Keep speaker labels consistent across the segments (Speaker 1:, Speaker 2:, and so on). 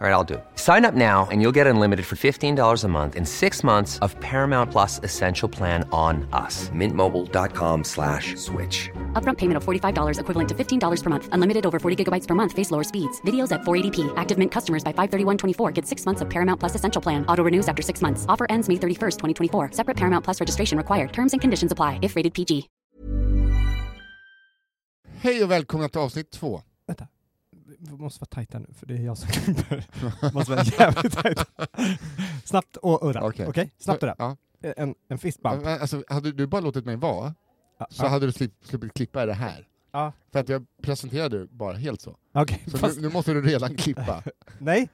Speaker 1: All right, I'll do it. Sign up now and you'll get unlimited for $15 a month in six months of Paramount Plus Essential Plan on us. Mintmobile.com slash switch.
Speaker 2: Upfront payment of $45 equivalent to $15 per month. Unlimited over 40 gigabytes per month. Face lower speeds. Videos at 480p. Active Mint customers by 531.24 get six months of Paramount Plus Essential Plan. Auto renews after six months. Offer ends May 31st, 2024. Separate Paramount Plus registration required. Terms and conditions apply if rated PG.
Speaker 3: Hej och välkomna till avsnitt två.
Speaker 4: Vänta. Vi måste vara tajta nu, för det är jag som klipper. måste vara jävligt tajta. Snabbt och urra. Okej?
Speaker 3: Okej.
Speaker 4: Snabbt och urra.
Speaker 3: Ja.
Speaker 4: En, en
Speaker 3: Men
Speaker 4: fistbump.
Speaker 3: Alltså, hade du bara låtit mig vara,
Speaker 4: Ja,
Speaker 3: så
Speaker 4: ja.
Speaker 3: hade du slipp- sluppit klippa det här.
Speaker 4: Ja.
Speaker 3: För att jag presenterade det bara helt så.
Speaker 4: Okej,
Speaker 3: Så
Speaker 4: fast
Speaker 3: nu, nu måste du redan klippa.
Speaker 4: nej.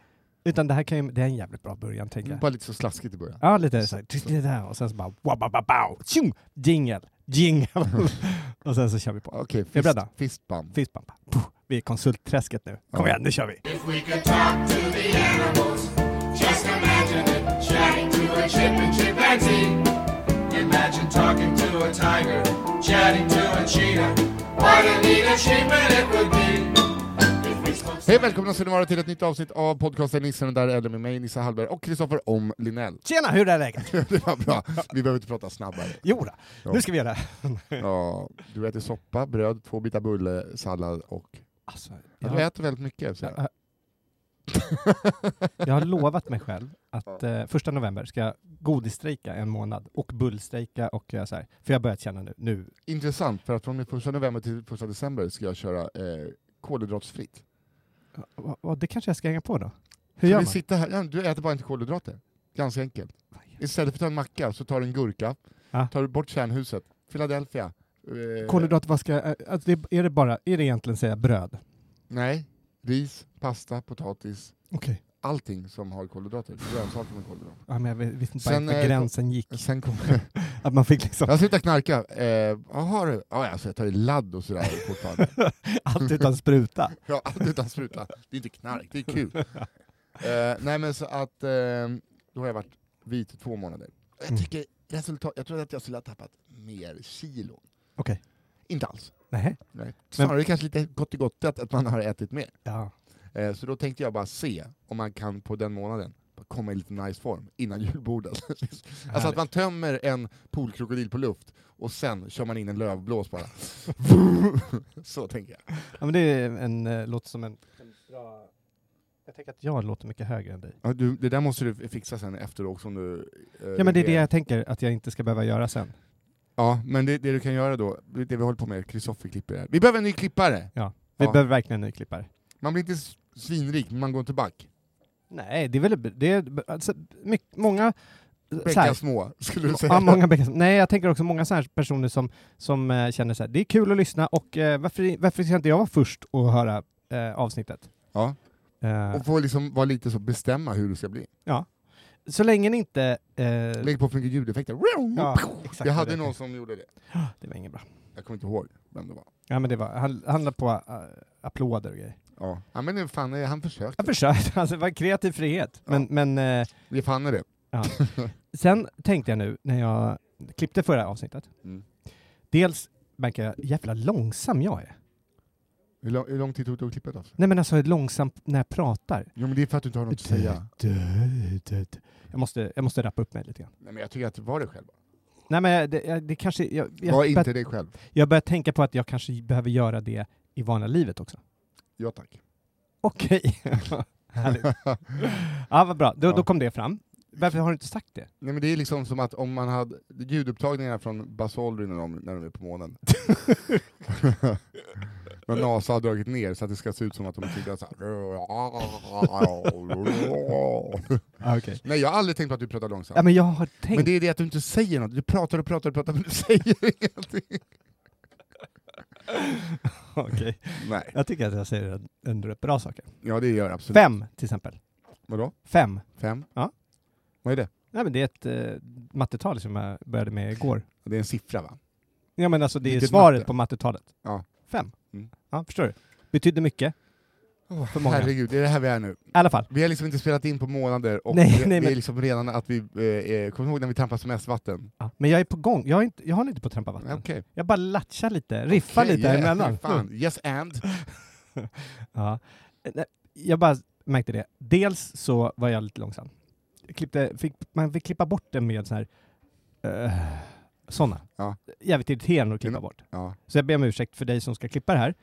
Speaker 4: Utan det här kan ju, det är en jävligt bra början, tänker jag.
Speaker 3: Bara lite så slaskigt i början.
Speaker 4: Ja, lite så här, tsk, det där, och sen så bara wabababau, tjung, jingel, jingel. och sen så kör vi på.
Speaker 3: Okej,
Speaker 4: Är
Speaker 3: fist,
Speaker 4: du beredda?
Speaker 3: fistbump.
Speaker 4: Fistbump. Puh, Vi är i konsultträsket nu. Kom igen, nu kör vi.
Speaker 3: Hej och välkomna ska ni vara till ett nytt avsnitt av podcasten Nissen och där eller med mig Nissa Hallberg och Kristoffer Om Linnell.
Speaker 4: Tjena, hur är läget?
Speaker 3: Det var bra, vi behöver inte prata snabbare.
Speaker 4: Jo, då. nu ska vi göra det.
Speaker 3: Ja, du äter soppa, bröd, två bitar bulle, sallad och...
Speaker 4: Alltså,
Speaker 3: Ja.
Speaker 4: jag-
Speaker 3: Du äter väldigt mycket. Så.
Speaker 4: Ja, Äh. Jag har lovat mig själv att eh, första november ska jag godisstrejka en månad och bullstrejka och göra så här. För jag har börjat känna nu, nu
Speaker 3: Intressant, för att från den första november till första december ska jag köra eh, kolhydratsfritt.
Speaker 4: va- va- det kanske jag ska hänga på då.
Speaker 3: Så
Speaker 4: Hur gör
Speaker 3: vi
Speaker 4: man?
Speaker 3: sitter här, ja, du äter bara inte kolhydrater. Ganska enkelt. Istället för att ta en macka så tar du en gurka,
Speaker 4: Ja.
Speaker 3: tar du bort kärnhuset, Philadelphia. eh,
Speaker 4: Kolhydrat, vad ska, eh, alltså det, är det bara, är det egentligen säga bröd?
Speaker 3: Nej, ris, pasta, potatis,
Speaker 4: Okej.
Speaker 3: allting som har kolhydrater. Grönsaker med kolhydrater.
Speaker 4: Ja, men jag vis- visste inte
Speaker 3: Sen,
Speaker 4: bara var
Speaker 3: eh,
Speaker 4: gränsen gick.
Speaker 3: Sen kommer...
Speaker 4: Att man fick liksom
Speaker 3: Jag slutar knarka. Eh, aha, du. Ja, alltså jag tar ju ladd och sådär fortfarande.
Speaker 4: allt utan spruta.
Speaker 3: Ja, allt utan spruta. Det är inte knark, det är kul. Eh, nej men så att, eh, då har jag varit vit i två månader. Och Jag
Speaker 4: Mm.
Speaker 3: tycker resultat, jag tror att jag skulle ha tappat mer kilo.
Speaker 4: Okej.
Speaker 3: Inte alls.
Speaker 4: Nej.
Speaker 3: Nej. Snarare kanske lite gott i gottet att man har ätit mer.
Speaker 4: Ja.
Speaker 3: Eh, så då tänkte jag bara se om man kan på den månaden bara komma i lite nice form innan julbordet. alltså att man tömmer en polkrokodil på luft och sen kör man in en lövblås bara. så tänker jag.
Speaker 4: ja, men det är en, eh, låter som en, en bra... Jag tänker att jag låter mycket högre än dig.
Speaker 3: Ja, du, det där måste du fixa sen efter också om du... eh,
Speaker 4: Ja, men det är det
Speaker 3: regerar.
Speaker 4: jag tänker att jag inte ska behöva göra sen.
Speaker 3: Ja, men det, det du kan göra då, det vi håller på med, Kristoffer klipper det här. Vi behöver en ny klippare!
Speaker 4: Vi
Speaker 3: Ja.
Speaker 4: behöver verkligen en ny klippare.
Speaker 3: Man blir inte s- svinrik, men man går inte back.
Speaker 4: Nej, det är väl det är, alltså, mycket, många... eh, så
Speaker 3: Bäckar
Speaker 4: här-
Speaker 3: små, skulle du säga.
Speaker 4: Ja, många bäckar- nej, jag tänker också många så här personer som, som eh, känner så här, det är kul att lyssna och eh, varför, varför ska inte jag vara först och höra eh, avsnittet?
Speaker 3: Ja.
Speaker 4: Eh,
Speaker 3: Och får liksom vara lite så, bestämma hur du ska bli.
Speaker 4: så länge ni inte... Eh,
Speaker 3: Lägg på för mycket ljudeffekter.
Speaker 4: ja, exakt
Speaker 3: jag
Speaker 4: vad
Speaker 3: hade
Speaker 4: det-
Speaker 3: någon som gjorde det.
Speaker 4: Det var inget bra.
Speaker 3: Jag kommer inte ihåg vem det var.
Speaker 4: Ja, men det var, han handlade på eh, applåder och grejer.
Speaker 3: Ja, ja men det är fan, eh, han försökte.
Speaker 4: Jag försökte, alltså det var kreativ frihet. Men,
Speaker 3: Ja.
Speaker 4: men eh,
Speaker 3: Ge fan i det.
Speaker 4: Sen tänkte jag nu när jag klippte förra avsnittet.
Speaker 3: Mm.
Speaker 4: Dels märker jag jävla långsam jag är.
Speaker 3: Hur lång, hur lång tid tog det att klippa då?
Speaker 4: Nej men alltså långsamt när jag pratar.
Speaker 3: Jo men det är för att du inte har något att säga.
Speaker 4: Jag måste, jag måste rappa upp mig lite grann.
Speaker 3: Nej men jag tycker att det var dig själv.
Speaker 4: Nej men jag- det, jag- det kanske... Jag, jag,
Speaker 3: Var
Speaker 4: bör,
Speaker 3: inte dig själv.
Speaker 4: jag börjar tänka på att jag kanske behöver göra det i vanliga livet också.
Speaker 3: Ja tack.
Speaker 4: Okej. Härligt. ja vad bra, då,
Speaker 3: Ja.
Speaker 4: då kom det fram. Varför har du inte sagt det?
Speaker 3: Nej men det är liksom som att om man hade ljudupptagningar från Buzz Aldrin när de, när de är på månen. Men NASA har dragit ner så att det ska se ut som att de tycker att så här...
Speaker 4: Ah,
Speaker 3: Nej, jag har aldrig tänkt på att du pratar långsamt.
Speaker 4: Ja, men jag har tänkt...
Speaker 3: Men det är det att du inte säger något. Du pratar och pratar och pratar, men du säger ingenting.
Speaker 4: Okej.
Speaker 3: Nej.
Speaker 4: Jag tycker att jag säger en- en del bra saker.
Speaker 3: Ja, det gör jag absolut.
Speaker 4: Fem, till exempel.
Speaker 3: Vadå?
Speaker 4: Fem.
Speaker 3: Fem?
Speaker 4: Ja.
Speaker 3: Vad är det?
Speaker 4: Nej, men det är ett eh, mattetal som jag började med igår.
Speaker 3: Det är en siffra, va?
Speaker 4: Ja, men alltså det är
Speaker 3: Vilket
Speaker 4: svaret
Speaker 3: matte?
Speaker 4: på mattetalet.
Speaker 3: Ja.
Speaker 4: Fem.
Speaker 3: Mm.
Speaker 4: Ja, förstår du? Betyder mycket. För många. I
Speaker 3: Herregud, det är det här vi är nu.
Speaker 4: alla fall.
Speaker 3: Vi har liksom inte spelat in på månader och
Speaker 4: Nej,
Speaker 3: vi,
Speaker 4: nej,
Speaker 3: vi är
Speaker 4: men-
Speaker 3: liksom redan att vi... Eh, eh, kommer du ihåg när vi trampade som vatten?
Speaker 4: Ja. Men jag är på gång. Jag, har inte, jag håller inte på att trampa vatten.
Speaker 3: Okej. Okay.
Speaker 4: Jag bara latchar lite, riffar lite emellan.
Speaker 3: Fan. Yes and?
Speaker 4: Ja. Eh, Nej, Jag bara märkte det. Dels så var jag lite långsam. Jag klippte, fick, man fick klippa bort det med så här... Uh, sådana.
Speaker 3: Ja.
Speaker 4: Jävligt irriterande att klippa
Speaker 3: Mm.
Speaker 4: bort.
Speaker 3: Ja.
Speaker 4: Så jag ber om ursäkt för dig som ska klippa det här.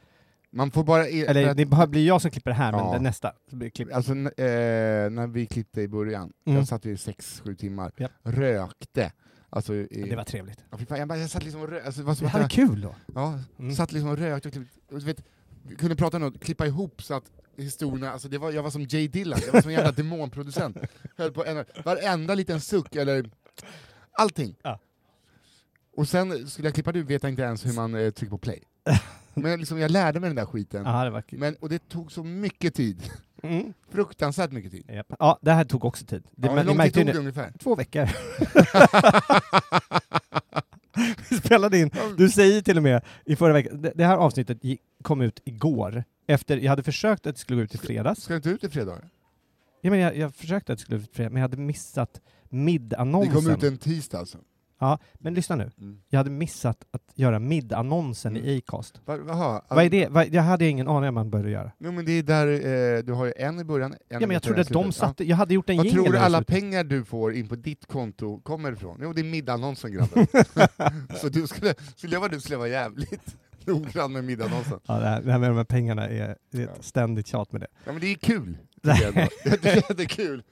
Speaker 3: Man får bara... eh,
Speaker 4: Eller
Speaker 3: för
Speaker 4: det bara blir jag som klipper det här, men
Speaker 3: Ja.
Speaker 4: det nästa. Så blir det klipp.
Speaker 3: att- Alltså, n- eh, när vi klippte i början,
Speaker 4: Mm.
Speaker 3: jag satt i sex, sju timmar,
Speaker 4: Japp.
Speaker 3: rökte. Alltså, i,
Speaker 4: Det var trevligt.
Speaker 3: Ja, fy fan, jag, bara, jag satt liksom och rökte. Alltså, det var som
Speaker 4: Vi
Speaker 3: att jag-
Speaker 4: hade kul då.
Speaker 3: Ja,
Speaker 4: Mm.
Speaker 3: satt liksom och rökte och klippte, och du vet, vi kunde prata om något, klippa ihop så att historierna, alltså det var, jag var som Jay Dillon, jag var som en jävla demonproducent. Höll på en, varenda liten suck eller allting.
Speaker 4: Ja.
Speaker 3: Och sen skulle jag klippa du vet jag inte ens hur man eh, trycker på play. Men liksom, jag lärde mig den där skiten.
Speaker 4: Ja, det var kul.
Speaker 3: Men, och det tog så mycket tid.
Speaker 4: Mm.
Speaker 3: Fruktansvärt mycket tid.
Speaker 4: Japp. Ja, det här tog också tid. Det,
Speaker 3: Ja,
Speaker 4: men
Speaker 3: hur lång tid
Speaker 4: vi märkte ju
Speaker 3: tog
Speaker 4: nu-
Speaker 3: det ungefär?
Speaker 4: Två veckor. vi spelade in. Du säger till och med i förra veckan, det, det här avsnittet gick- kom ut igår. Efter, jag hade försökt att det skulle gå ut i fredags.
Speaker 3: Ska du inte ut i fredag?
Speaker 4: Ja, men jag, jag försökte att det skulle ut i fredags, men jag hade missat
Speaker 3: Det kom ut
Speaker 4: middannonsen.
Speaker 3: en tisdag alltså.
Speaker 4: Men lyssna nu.
Speaker 3: Mm.
Speaker 4: Jag hade missat att göra middannonsen
Speaker 3: Mm.
Speaker 4: i Acast.
Speaker 3: Va- Jaha,
Speaker 4: Vad är det? Vad, jag hade ingen aning om man började göra.
Speaker 3: Jo, men det är där, eh, du har ju en i början, en
Speaker 4: Ja, men jag
Speaker 3: i
Speaker 4: trodde att de
Speaker 3: slutet. Ja.
Speaker 4: satte... Jag hade gjort en
Speaker 3: Vad
Speaker 4: jingel.
Speaker 3: tror du
Speaker 4: där
Speaker 3: alla
Speaker 4: ute.
Speaker 3: pengar du får in på ditt konto kommer ifrån? Jo, det är middagannonsen grabben. så du skulle, skulle jag vara du skulle jag vara jävligt noggrann med middagannonsen.
Speaker 4: Ja, det här, det här med de här pengarna är, det är ett
Speaker 3: Ja.
Speaker 4: ständigt tjat med det.
Speaker 3: Ja, men det är kul. tycker jag ändå. Det är jättekul.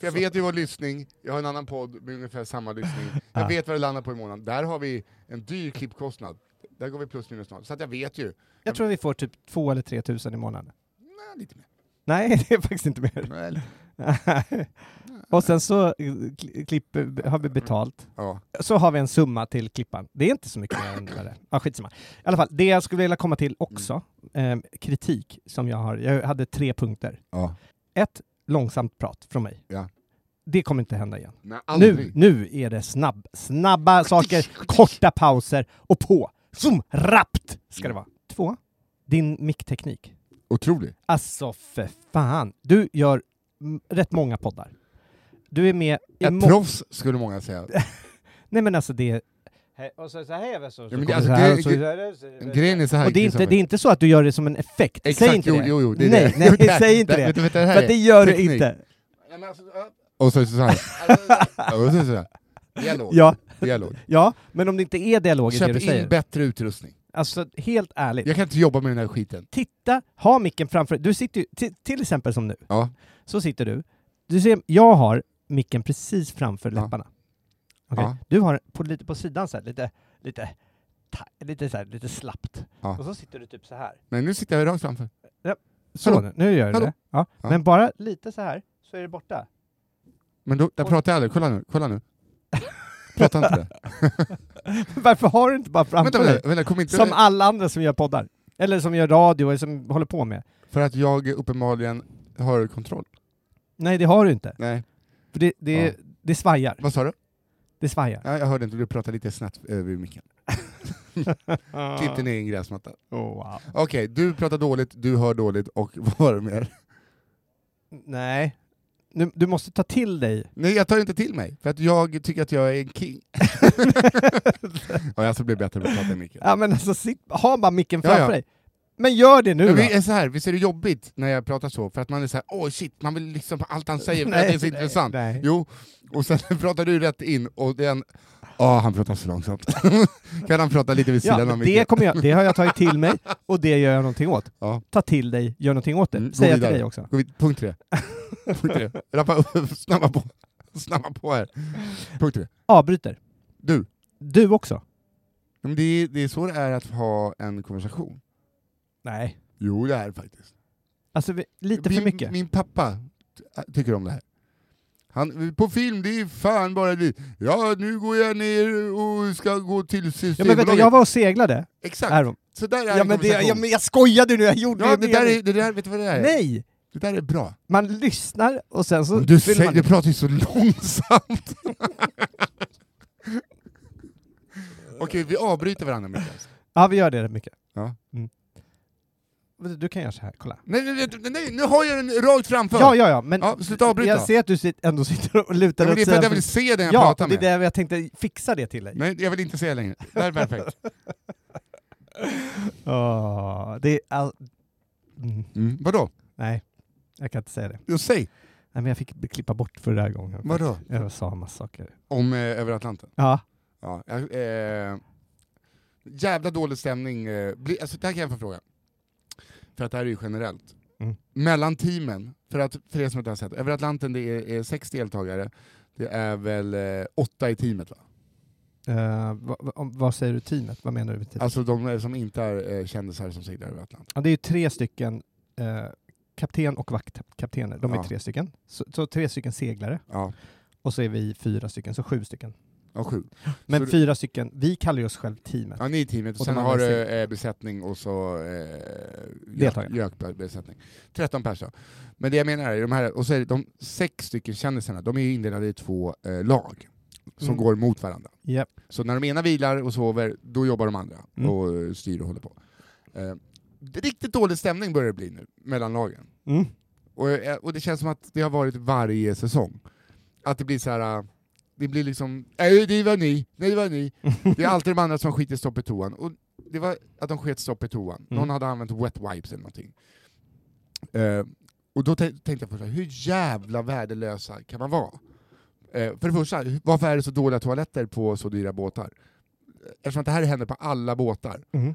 Speaker 3: För jag vet ju vad lyssning, jag har en annan podd med ungefär samma lyssning. Jag
Speaker 4: Ja.
Speaker 3: vet vad det landar på i månaden. Där har vi en dyr klippkostnad. Där går vi plus minus noll. Så att jag vet ju.
Speaker 4: Jag tror vi får typ två eller tre tusen i månaden.
Speaker 3: Nej, lite mer.
Speaker 4: Nej, det är faktiskt inte mer.
Speaker 3: Nej, lite-
Speaker 4: och sen så eh, kli- klipper, har vi betalt.
Speaker 3: Ja.
Speaker 4: Så har vi en summa till klippan. Det är inte så mycket mer än vad det är. Ja, skitsamma. I alla fall, det jag skulle vilja komma till också, eh, kritik som jag har. Jag hade tre punkter.
Speaker 3: ja.
Speaker 4: Ett, långsamt prat från mig.
Speaker 3: Ja.
Speaker 4: Det kommer inte hända igen.
Speaker 3: Nej,
Speaker 4: Nu,
Speaker 3: aldrig.
Speaker 4: nu är det snabb, snabba saker, korta pauser och på. Zoom, rappt ska det vara. Två, din mickteknik.
Speaker 3: Otroligt.
Speaker 4: Alltså för fan. Du gör m- rätt många poddar. Du är med i
Speaker 3: Ett
Speaker 4: må-
Speaker 3: proffs skulle många säga.
Speaker 4: Nej men alltså det är... Och så, så här, så,
Speaker 3: Ja, men det- alltså, gre- Grejen är så här,
Speaker 4: och det är, inte,
Speaker 3: Christopher.
Speaker 4: det är inte så att du gör det som en effekt.
Speaker 3: Exakt,
Speaker 4: säg inte
Speaker 3: jo,
Speaker 4: det.
Speaker 3: jo, jo, det är
Speaker 4: nej,
Speaker 3: det.
Speaker 4: nej,
Speaker 3: Jo, det här-
Speaker 4: säg inte
Speaker 3: det här-
Speaker 4: det.
Speaker 3: vet du vad det här
Speaker 4: För att
Speaker 3: är?
Speaker 4: det gör du
Speaker 3: Teknik.
Speaker 4: inte.
Speaker 3: Ja, men alltså, ja. Och så är det såhär. Och så är det såhär. Dialog.
Speaker 4: Ja,
Speaker 3: Dialog.
Speaker 4: ja, men om det inte är dialog i det
Speaker 3: Köp
Speaker 4: du
Speaker 3: in
Speaker 4: säger.
Speaker 3: bättre utrustning.
Speaker 4: Alltså helt ärligt.
Speaker 3: Jag kan inte jobba med den här skiten.
Speaker 4: Titta, ha micken framför Du sitter ju, ti- till exempel som nu,
Speaker 3: Ja.
Speaker 4: så sitter du. Du ser, jag har micken precis framför
Speaker 3: Ja.
Speaker 4: läpparna. Okej?
Speaker 3: Ja.
Speaker 4: Du har på, lite på sidan så här, lite, lite, ta- lite, så här, lite slappt.
Speaker 3: Ja.
Speaker 4: Och så sitter du typ så här.
Speaker 3: Nej, nu sitter jag rakt framför.
Speaker 4: Så,
Speaker 3: Hallå?
Speaker 4: nu, nu gör du
Speaker 3: Hallå?
Speaker 4: det. Ja.
Speaker 3: Ja.
Speaker 4: Men bara lite så här, så är det borta.
Speaker 3: Men då, där
Speaker 4: Och-
Speaker 3: pratar jag aldrig. Kolla nu. Kolla nu. Prata inte där.
Speaker 4: Varför har du inte bara
Speaker 3: Vänta,
Speaker 4: framför dig?
Speaker 3: vänta, vänta, kom inte...
Speaker 4: Som alla andra som gör poddar. Eller som gör radio, eller som håller på med.
Speaker 3: För att jag uppenbarligen har kontroll.
Speaker 4: Nej, det har du inte.
Speaker 3: Nej.
Speaker 4: För det, det,
Speaker 3: Ja.
Speaker 4: det svajar.
Speaker 3: Vad sa du?
Speaker 4: Det svajar.
Speaker 3: Ja, jag hörde inte, du pratade lite snett över micken. Klippte ner i en gräsmatta.
Speaker 4: Oh, wow.
Speaker 3: Okej, du pratar dåligt, du hör dåligt och vad var det mer?
Speaker 4: Nej. Du, du måste ta till dig.
Speaker 3: Nej, jag tar inte till mig, för att jag tycker att jag är en king. Ja, jag ska bli bättre på att prata i micken.
Speaker 4: ja, men alltså, sitt, ha bara micken
Speaker 3: Ja, ja.
Speaker 4: framför dig. Men gör det nu
Speaker 3: Ja,
Speaker 4: då.
Speaker 3: vi är så här, visst är det jobbigt när jag pratar så, för att man är så här, åh shit, man vill liksom på allt han säger för att det är så intressant.
Speaker 4: nej.
Speaker 3: Jo, och sen pratar du rätt in och den, åh han pratar så långsamt. kan han prata lite vid
Speaker 4: Ja,
Speaker 3: sidan
Speaker 4: men
Speaker 3: av
Speaker 4: det,
Speaker 3: micken?
Speaker 4: kommer jag, det har jag tagit till mig och det gör jag någonting åt.
Speaker 3: Ja.
Speaker 4: Ta till dig, gör någonting åt det.
Speaker 3: Mm, gå
Speaker 4: Säger jag till
Speaker 3: vidare.
Speaker 4: dig också.
Speaker 3: Går vi, punkt tre. Punkt tre. Rappa upp, snabba på. Snabba på här. Punkt tre.
Speaker 4: Avbryter.
Speaker 3: Du,
Speaker 4: Du också.
Speaker 3: men det, är, det är så det är att ha en konversation.
Speaker 4: Nej.
Speaker 3: Jo, det är det faktiskt.
Speaker 4: Alltså vi, lite
Speaker 3: min,
Speaker 4: för mycket.
Speaker 3: Min pappa ty- tycker om det här. Han, på film, det är fan bara det. Ja, nu går jag ner och ska gå till
Speaker 4: ja, men
Speaker 3: Systembolaget.
Speaker 4: vänta, jag var och seglade.
Speaker 3: Exakt,
Speaker 4: Här.
Speaker 3: så där är
Speaker 4: Ja,
Speaker 3: en
Speaker 4: men det,
Speaker 3: konversation.
Speaker 4: ja, men jag skojade nu, jag gjorde
Speaker 3: Ja,
Speaker 4: det.
Speaker 3: det där är, det där, vet du vad det där är?
Speaker 4: Nej!
Speaker 3: Det där är bra.
Speaker 4: Man lyssnar och sen så...
Speaker 3: Men Du,
Speaker 4: vill
Speaker 3: säger,
Speaker 4: man...
Speaker 3: du pratar ju så långsamt. Okej, vi avbryter varandra Niklas.
Speaker 4: Ja, vi gör det rätt mycket.
Speaker 3: Ja.
Speaker 4: Mm. Du du kan göra så här, kolla.
Speaker 3: Nej, nej, nej, nej, nej, nu har jag den rakt framför!
Speaker 4: Ja, ja, ja, men
Speaker 3: Ja, sluta avbryta.
Speaker 4: jag ser att du sit- ändå sitter och lutar
Speaker 3: Nej, men det är för att jag vill
Speaker 4: åt sidan.
Speaker 3: se den jag
Speaker 4: Ja,
Speaker 3: pratar
Speaker 4: det är
Speaker 3: med.
Speaker 4: det jag tänkte fixa det till dig.
Speaker 3: Nej, jag vill inte se längre. Det här är perfekt.
Speaker 4: Åh, det är all... mm,
Speaker 3: Mm. Vadå?
Speaker 4: nej, jag kan inte säga det.
Speaker 3: Jo, säg.
Speaker 4: Nej, men jag fick klippa bort för den här gången.
Speaker 3: Vadå?
Speaker 4: Jag sa en massa saker.
Speaker 3: Om eh, Över Atlanten.
Speaker 4: Ja,
Speaker 3: Ja, jag, eh, jävla dålig stämning. Eh, bli, alltså, det här kan jag få fråga. För att det här är ju generellt.
Speaker 4: Mm.
Speaker 3: Mellan teamen, för, att, för er som inte har sett, Över Atlanten det är, är sex deltagare. Det är väl eh, åtta i teamet va?
Speaker 4: eh, vad, vad- om- vad säger du teamet? Vad menar du med teamet?
Speaker 3: Alltså de eh, som inte är eh, kändisar som seglar över Atlanten.
Speaker 4: Ja, det är ju tre stycken eh, kapten och vaktkaptener. De är
Speaker 3: Ja.
Speaker 4: tre stycken. Så, så tre stycken seglare
Speaker 3: Ja,
Speaker 4: och så är vi fyra stycken, så sju stycken.
Speaker 3: ja sju.
Speaker 4: Men
Speaker 3: Så du-
Speaker 4: fyra stycken, vi kallar ju oss själv teamet.
Speaker 3: Ja, ni i teamet,
Speaker 4: Och
Speaker 3: sen
Speaker 4: de andra
Speaker 3: har du
Speaker 4: sig.
Speaker 3: eh, besättning och så eh,
Speaker 4: Deltagare.
Speaker 3: gökbesättning. 13 pers då. Men det jag menar är, de, här, och så är det de sex stycken kändisarna, de är ju indelade i två eh, lag som
Speaker 4: Mm.
Speaker 3: går mot varandra.
Speaker 4: Japp.
Speaker 3: Så när de ena vilar och sover, då jobbar de andra
Speaker 4: Mm.
Speaker 3: och eh, styr och håller på. Eh, det är riktigt dålig stämning börjar det bli nu, mellan lagen.
Speaker 4: Mm.
Speaker 3: Och, eh, och det känns som att det har varit varje säsong. Att det blir så här. eh, det blir liksom, nej det var ni, nej det var ni. Det är alltid de andra som skiter stopp i toan. Och det var att de sket stopp i toan. Någon
Speaker 4: Mm.
Speaker 3: hade använt wet wipes eller någonting. Eh, och då tän- tänkte jag först, så här, hur jävla värdelösa kan man vara? Eh, för det första, varför är det så dåliga toaletter på så dyra båtar? Eftersom att det här händer på alla båtar.
Speaker 4: Mm.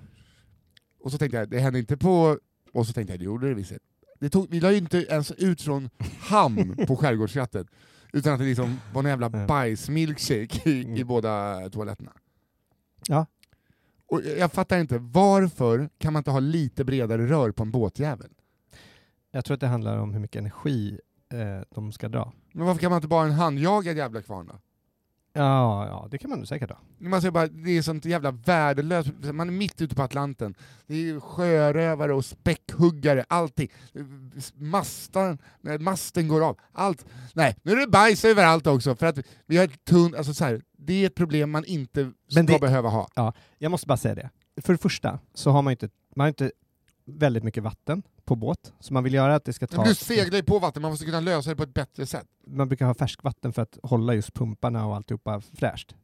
Speaker 3: Och så tänkte jag, det hände inte på... Och så tänkte jag, det gjorde det visst. Det tog, vi la ju inte ens ut från hamn på Skärgårdsskrattet. Utan att det liksom var en jävla
Speaker 4: Mm.
Speaker 3: bajsmilkshake i, i
Speaker 4: Mm.
Speaker 3: båda toaletterna.
Speaker 4: Ja.
Speaker 3: Och jag, jag fattar inte, varför kan man inte ha lite bredare rör på en båtjävel?
Speaker 4: Jag tror att det handlar om hur mycket energi eh, de ska dra.
Speaker 3: Men varför kan man inte bara ha en handjagad jävla kvarn då?
Speaker 4: Ja, ja, det kan man nog säkert ha.
Speaker 3: Man ser bara, det är sånt jävla värdelöst, man är mitt ute på Atlanten. Det är sjörövare och späckhuggare, allting. Mastan, nej, masten går av, allt. Nej, nu är det bajs överallt också, för att vi har ett tunn, alltså så här, det är ett problem man inte ska
Speaker 4: Men det-
Speaker 3: behöva ha.
Speaker 4: Jag måste bara säga det. För det första så har man ju inte, man har inte väldigt mycket vatten på båt, så man vill göra att det ska ta...
Speaker 3: Men du seglar ju på vatten, man måste kunna lösa det på ett bättre sätt.
Speaker 4: man brukar ha färskvatten för att hålla just pumparna och alltihopa fräscht.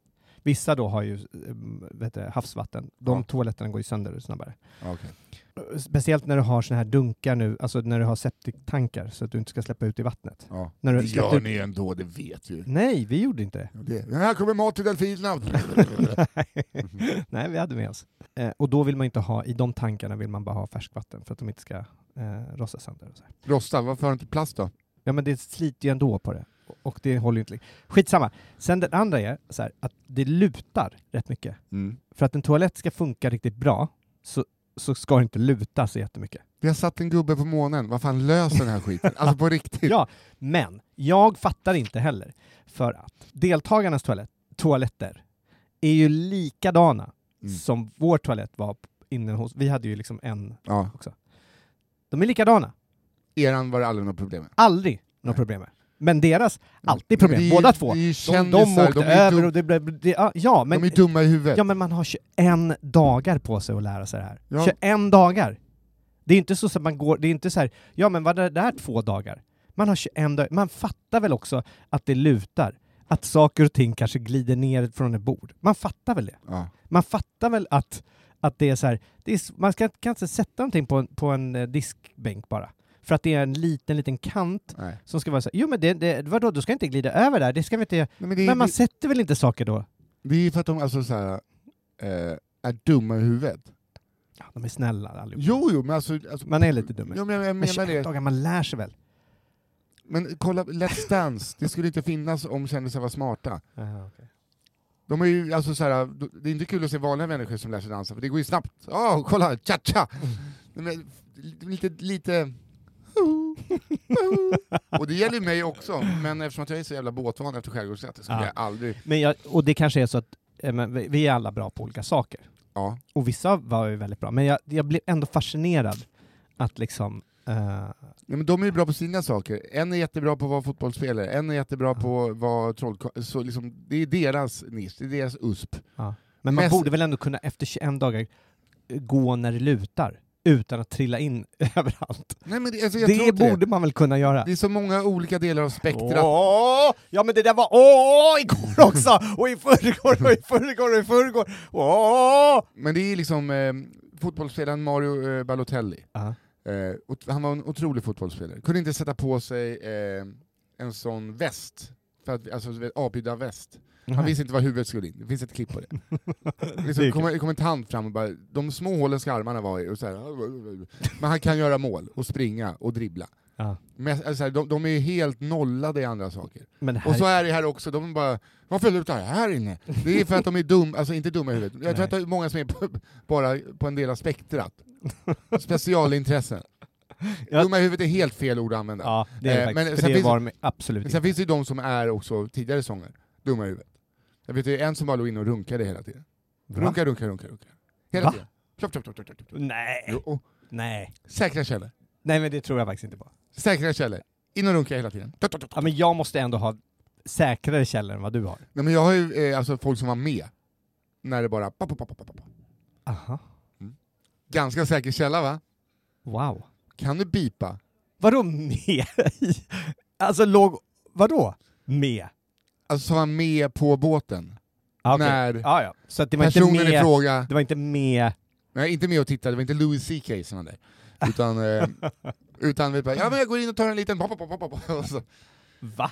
Speaker 4: Vissa då har ju ehm, vad heter det, havsvatten. De
Speaker 3: Ja.
Speaker 4: toaletterna går ju sönder snabbare.
Speaker 3: Okay.
Speaker 4: Speciellt när du har såna här dunkar nu, alltså när du har septiktankar så att du inte ska släppa ut i vattnet.
Speaker 3: Ja.
Speaker 4: När du
Speaker 3: Det
Speaker 4: släppte
Speaker 3: gör
Speaker 4: ut-
Speaker 3: ni ändå, det vet ju.
Speaker 4: Nej, vi gjorde inte det.
Speaker 3: Det. Här kommer mat till delfinerna.
Speaker 4: Nej, vi hade med oss. Eh, och då vill man inte ha, i de tankarna vill man bara ha färskvatten för att de inte ska eh, rossa sönder. Och så här.
Speaker 3: Rosta, varför har du inte plast då?
Speaker 4: Ja, men det sliter ju ändå på det. Och det håller ju inte. Skitsamma. Sen den andra är så här, att det lutar rätt mycket. För att en toalett ska funka riktigt bra så, så ska det inte luta så jättemycket.
Speaker 3: Vi har satt en gubbe på månen, vad fan löser den här skiten? Alltså på riktigt.
Speaker 4: Ja, men jag fattar inte heller för att deltagarnas toalett, toaletter är ju likadana
Speaker 3: Mm.
Speaker 4: som vår toalett var inne hos. Vi hade ju liksom en.
Speaker 3: Ja.
Speaker 4: De är likadana.
Speaker 3: Eran var det aldrig något problem med.
Speaker 4: Aldrig
Speaker 3: Nej.
Speaker 4: några problem med. Men deras, alltid
Speaker 3: Det är
Speaker 4: problem.
Speaker 3: ju-
Speaker 4: Båda två.
Speaker 3: det är ju
Speaker 4: De,
Speaker 3: kändisar,
Speaker 4: de åkte
Speaker 3: de är
Speaker 4: över
Speaker 3: dum-
Speaker 4: och det blev... Det, ja, ja, men,
Speaker 3: de är dumma i huvudet.
Speaker 4: ja, men man har 21 dagar på sig att lära sig det här.
Speaker 3: Ja.
Speaker 4: 21 dagar! Det är inte så att man går... Det är inte så här, ja men var det där två dagar? Man har 21 dagar. Man fattar väl också att det lutar? Att saker och ting kanske glider ner från ett bord. Man fattar väl det?
Speaker 3: Ja.
Speaker 4: Man fattar väl att, att det är så här, det är, s- man ska, kan inte sätta någonting på en, på en eh, diskbänk bara. För att det är en liten, liten kant
Speaker 3: Nej.
Speaker 4: som ska vara så här, jo men det, det, vadå, du ska inte glida över där, det ska vi inte göra.
Speaker 3: Nej, men det, är,
Speaker 4: Men man
Speaker 3: det,
Speaker 4: sätter väl inte saker då?
Speaker 3: det är för att de alltså, så här, eh, är dumma i huvudet.
Speaker 4: Ja, de är snälla allihopa.
Speaker 3: Jo, jo, men alltså... alltså
Speaker 4: Man är lite dum.
Speaker 3: Jo, men jag, jag
Speaker 4: men
Speaker 3: menar
Speaker 4: 21
Speaker 3: det.
Speaker 4: dagar, man lär sig väl?
Speaker 3: Men kolla, Let's Dance, det skulle inte finnas om kändisar var smarta. De är ju,
Speaker 4: Mm.
Speaker 3: alltså, så här, det är inte kul att se vanliga människor som lär sig dansa, för det går ju snabbt. Åh, kolla, cha-cha! Nej, men, f- lite, lite... Och det gäller ju mig också, men eftersom att jag är så jävla båtvan efter skärgårdsnätet så
Speaker 4: Ja.
Speaker 3: kan jag aldrig...
Speaker 4: Men jag, och det kanske är så att eh, men vi vi är alla bra på olika saker.
Speaker 3: Ja.
Speaker 4: Och vissa var ju väldigt bra, men jag, jag blev ändå fascinerad att liksom... eh,
Speaker 3: Ja, men de är ju bra på sina saker. En är jättebra på att vara fotbollsspelare, en är jättebra på att vara trollkarl. Så liksom, det är deras nisch, det är deras USP.
Speaker 4: men man
Speaker 3: Mest-
Speaker 4: borde väl ändå kunna efter 21 dagar eh, gå när det lutar utan att trilla in överallt.
Speaker 3: Nej, men det, alltså, jag tror
Speaker 4: Det
Speaker 3: inte
Speaker 4: borde
Speaker 3: det.
Speaker 4: man väl kunna göra?
Speaker 3: det är så många olika delar av spektrat.
Speaker 4: Åh! Ja men det där var åh igår också! Och i förrgår och i förrgår och i förrgår! Åh!
Speaker 3: Men det är liksom eh, fotbollsspelaren Mario eh, Balotelli.
Speaker 4: Ja.
Speaker 3: Eh, ot- han var en otrolig fotbollsspelare. Kunde inte sätta på sig eh, en sån väst, för att, alltså avbydda väst. Han visste inte var huvudet skulle in, det finns ett klipp på det.
Speaker 4: Det
Speaker 3: Liksom,
Speaker 4: är
Speaker 3: kom, det kom en tant fram och bara, de små hålen ska armarna vara i, och så här, men han kan göra mål, och springa, och dribbla.
Speaker 4: Ja.
Speaker 3: Men, alltså, så här, de, de är ju helt nollade i andra saker.
Speaker 4: Men här...
Speaker 3: Och så är det här också, de bara ”Varför lutar det här inne?” Det är för att de är dumma, alltså inte dumma i huvudet. Jag tror att det är många som är på, bara på en del av spektrat. Specialintressen.
Speaker 4: Ja.
Speaker 3: Dumma i huvudet är helt fel ord att använda.
Speaker 4: Ja, det är det
Speaker 3: Eh,
Speaker 4: faktiskt.
Speaker 3: men
Speaker 4: för
Speaker 3: sen
Speaker 4: det
Speaker 3: finns-
Speaker 4: var de absolut
Speaker 3: Men
Speaker 4: inte.
Speaker 3: sen finns det ju de som är också tidigare sånger, dumma i huvudet. Jag vet ju en som bara låg in och runkade hela tiden.
Speaker 4: Va?
Speaker 3: Runka, runka, runka, runka. Hela
Speaker 4: Va?
Speaker 3: tiden. Tjopp, tjopp, tjopp, tjopp, tjopp.
Speaker 4: Nej,
Speaker 3: Jo, och-
Speaker 4: nej.
Speaker 3: Säkra källor.
Speaker 4: Nej men det tror jag faktiskt inte på.
Speaker 3: Säkra källor. In och runka hela tiden. Tjopp, tjopp, tjopp.
Speaker 4: Ja, men jag måste ändå ha säkrare källor än vad du har.
Speaker 3: Nej, men jag har ju eh, alltså folk som var med, när det bara... pop, pop, pop, pop, pop.
Speaker 4: Aha.
Speaker 3: Ganska säker källa va?
Speaker 4: Wow.
Speaker 3: Kan du bipa?
Speaker 4: Vadå med? alltså låg... Vadå? Med?
Speaker 3: Alltså som var med på båten.
Speaker 4: Ah, okej.
Speaker 3: När
Speaker 4: Ah, ja. Så att det var inte
Speaker 3: personen i
Speaker 4: med...
Speaker 3: fråga,
Speaker 4: Det var inte med...
Speaker 3: nej inte med och tittade, det var inte Louis CK som var där. Utan, eh, utan vi bara, ja men jag går in och tar en liten pop, pop, pop, pop, pop. Och så.
Speaker 4: Va?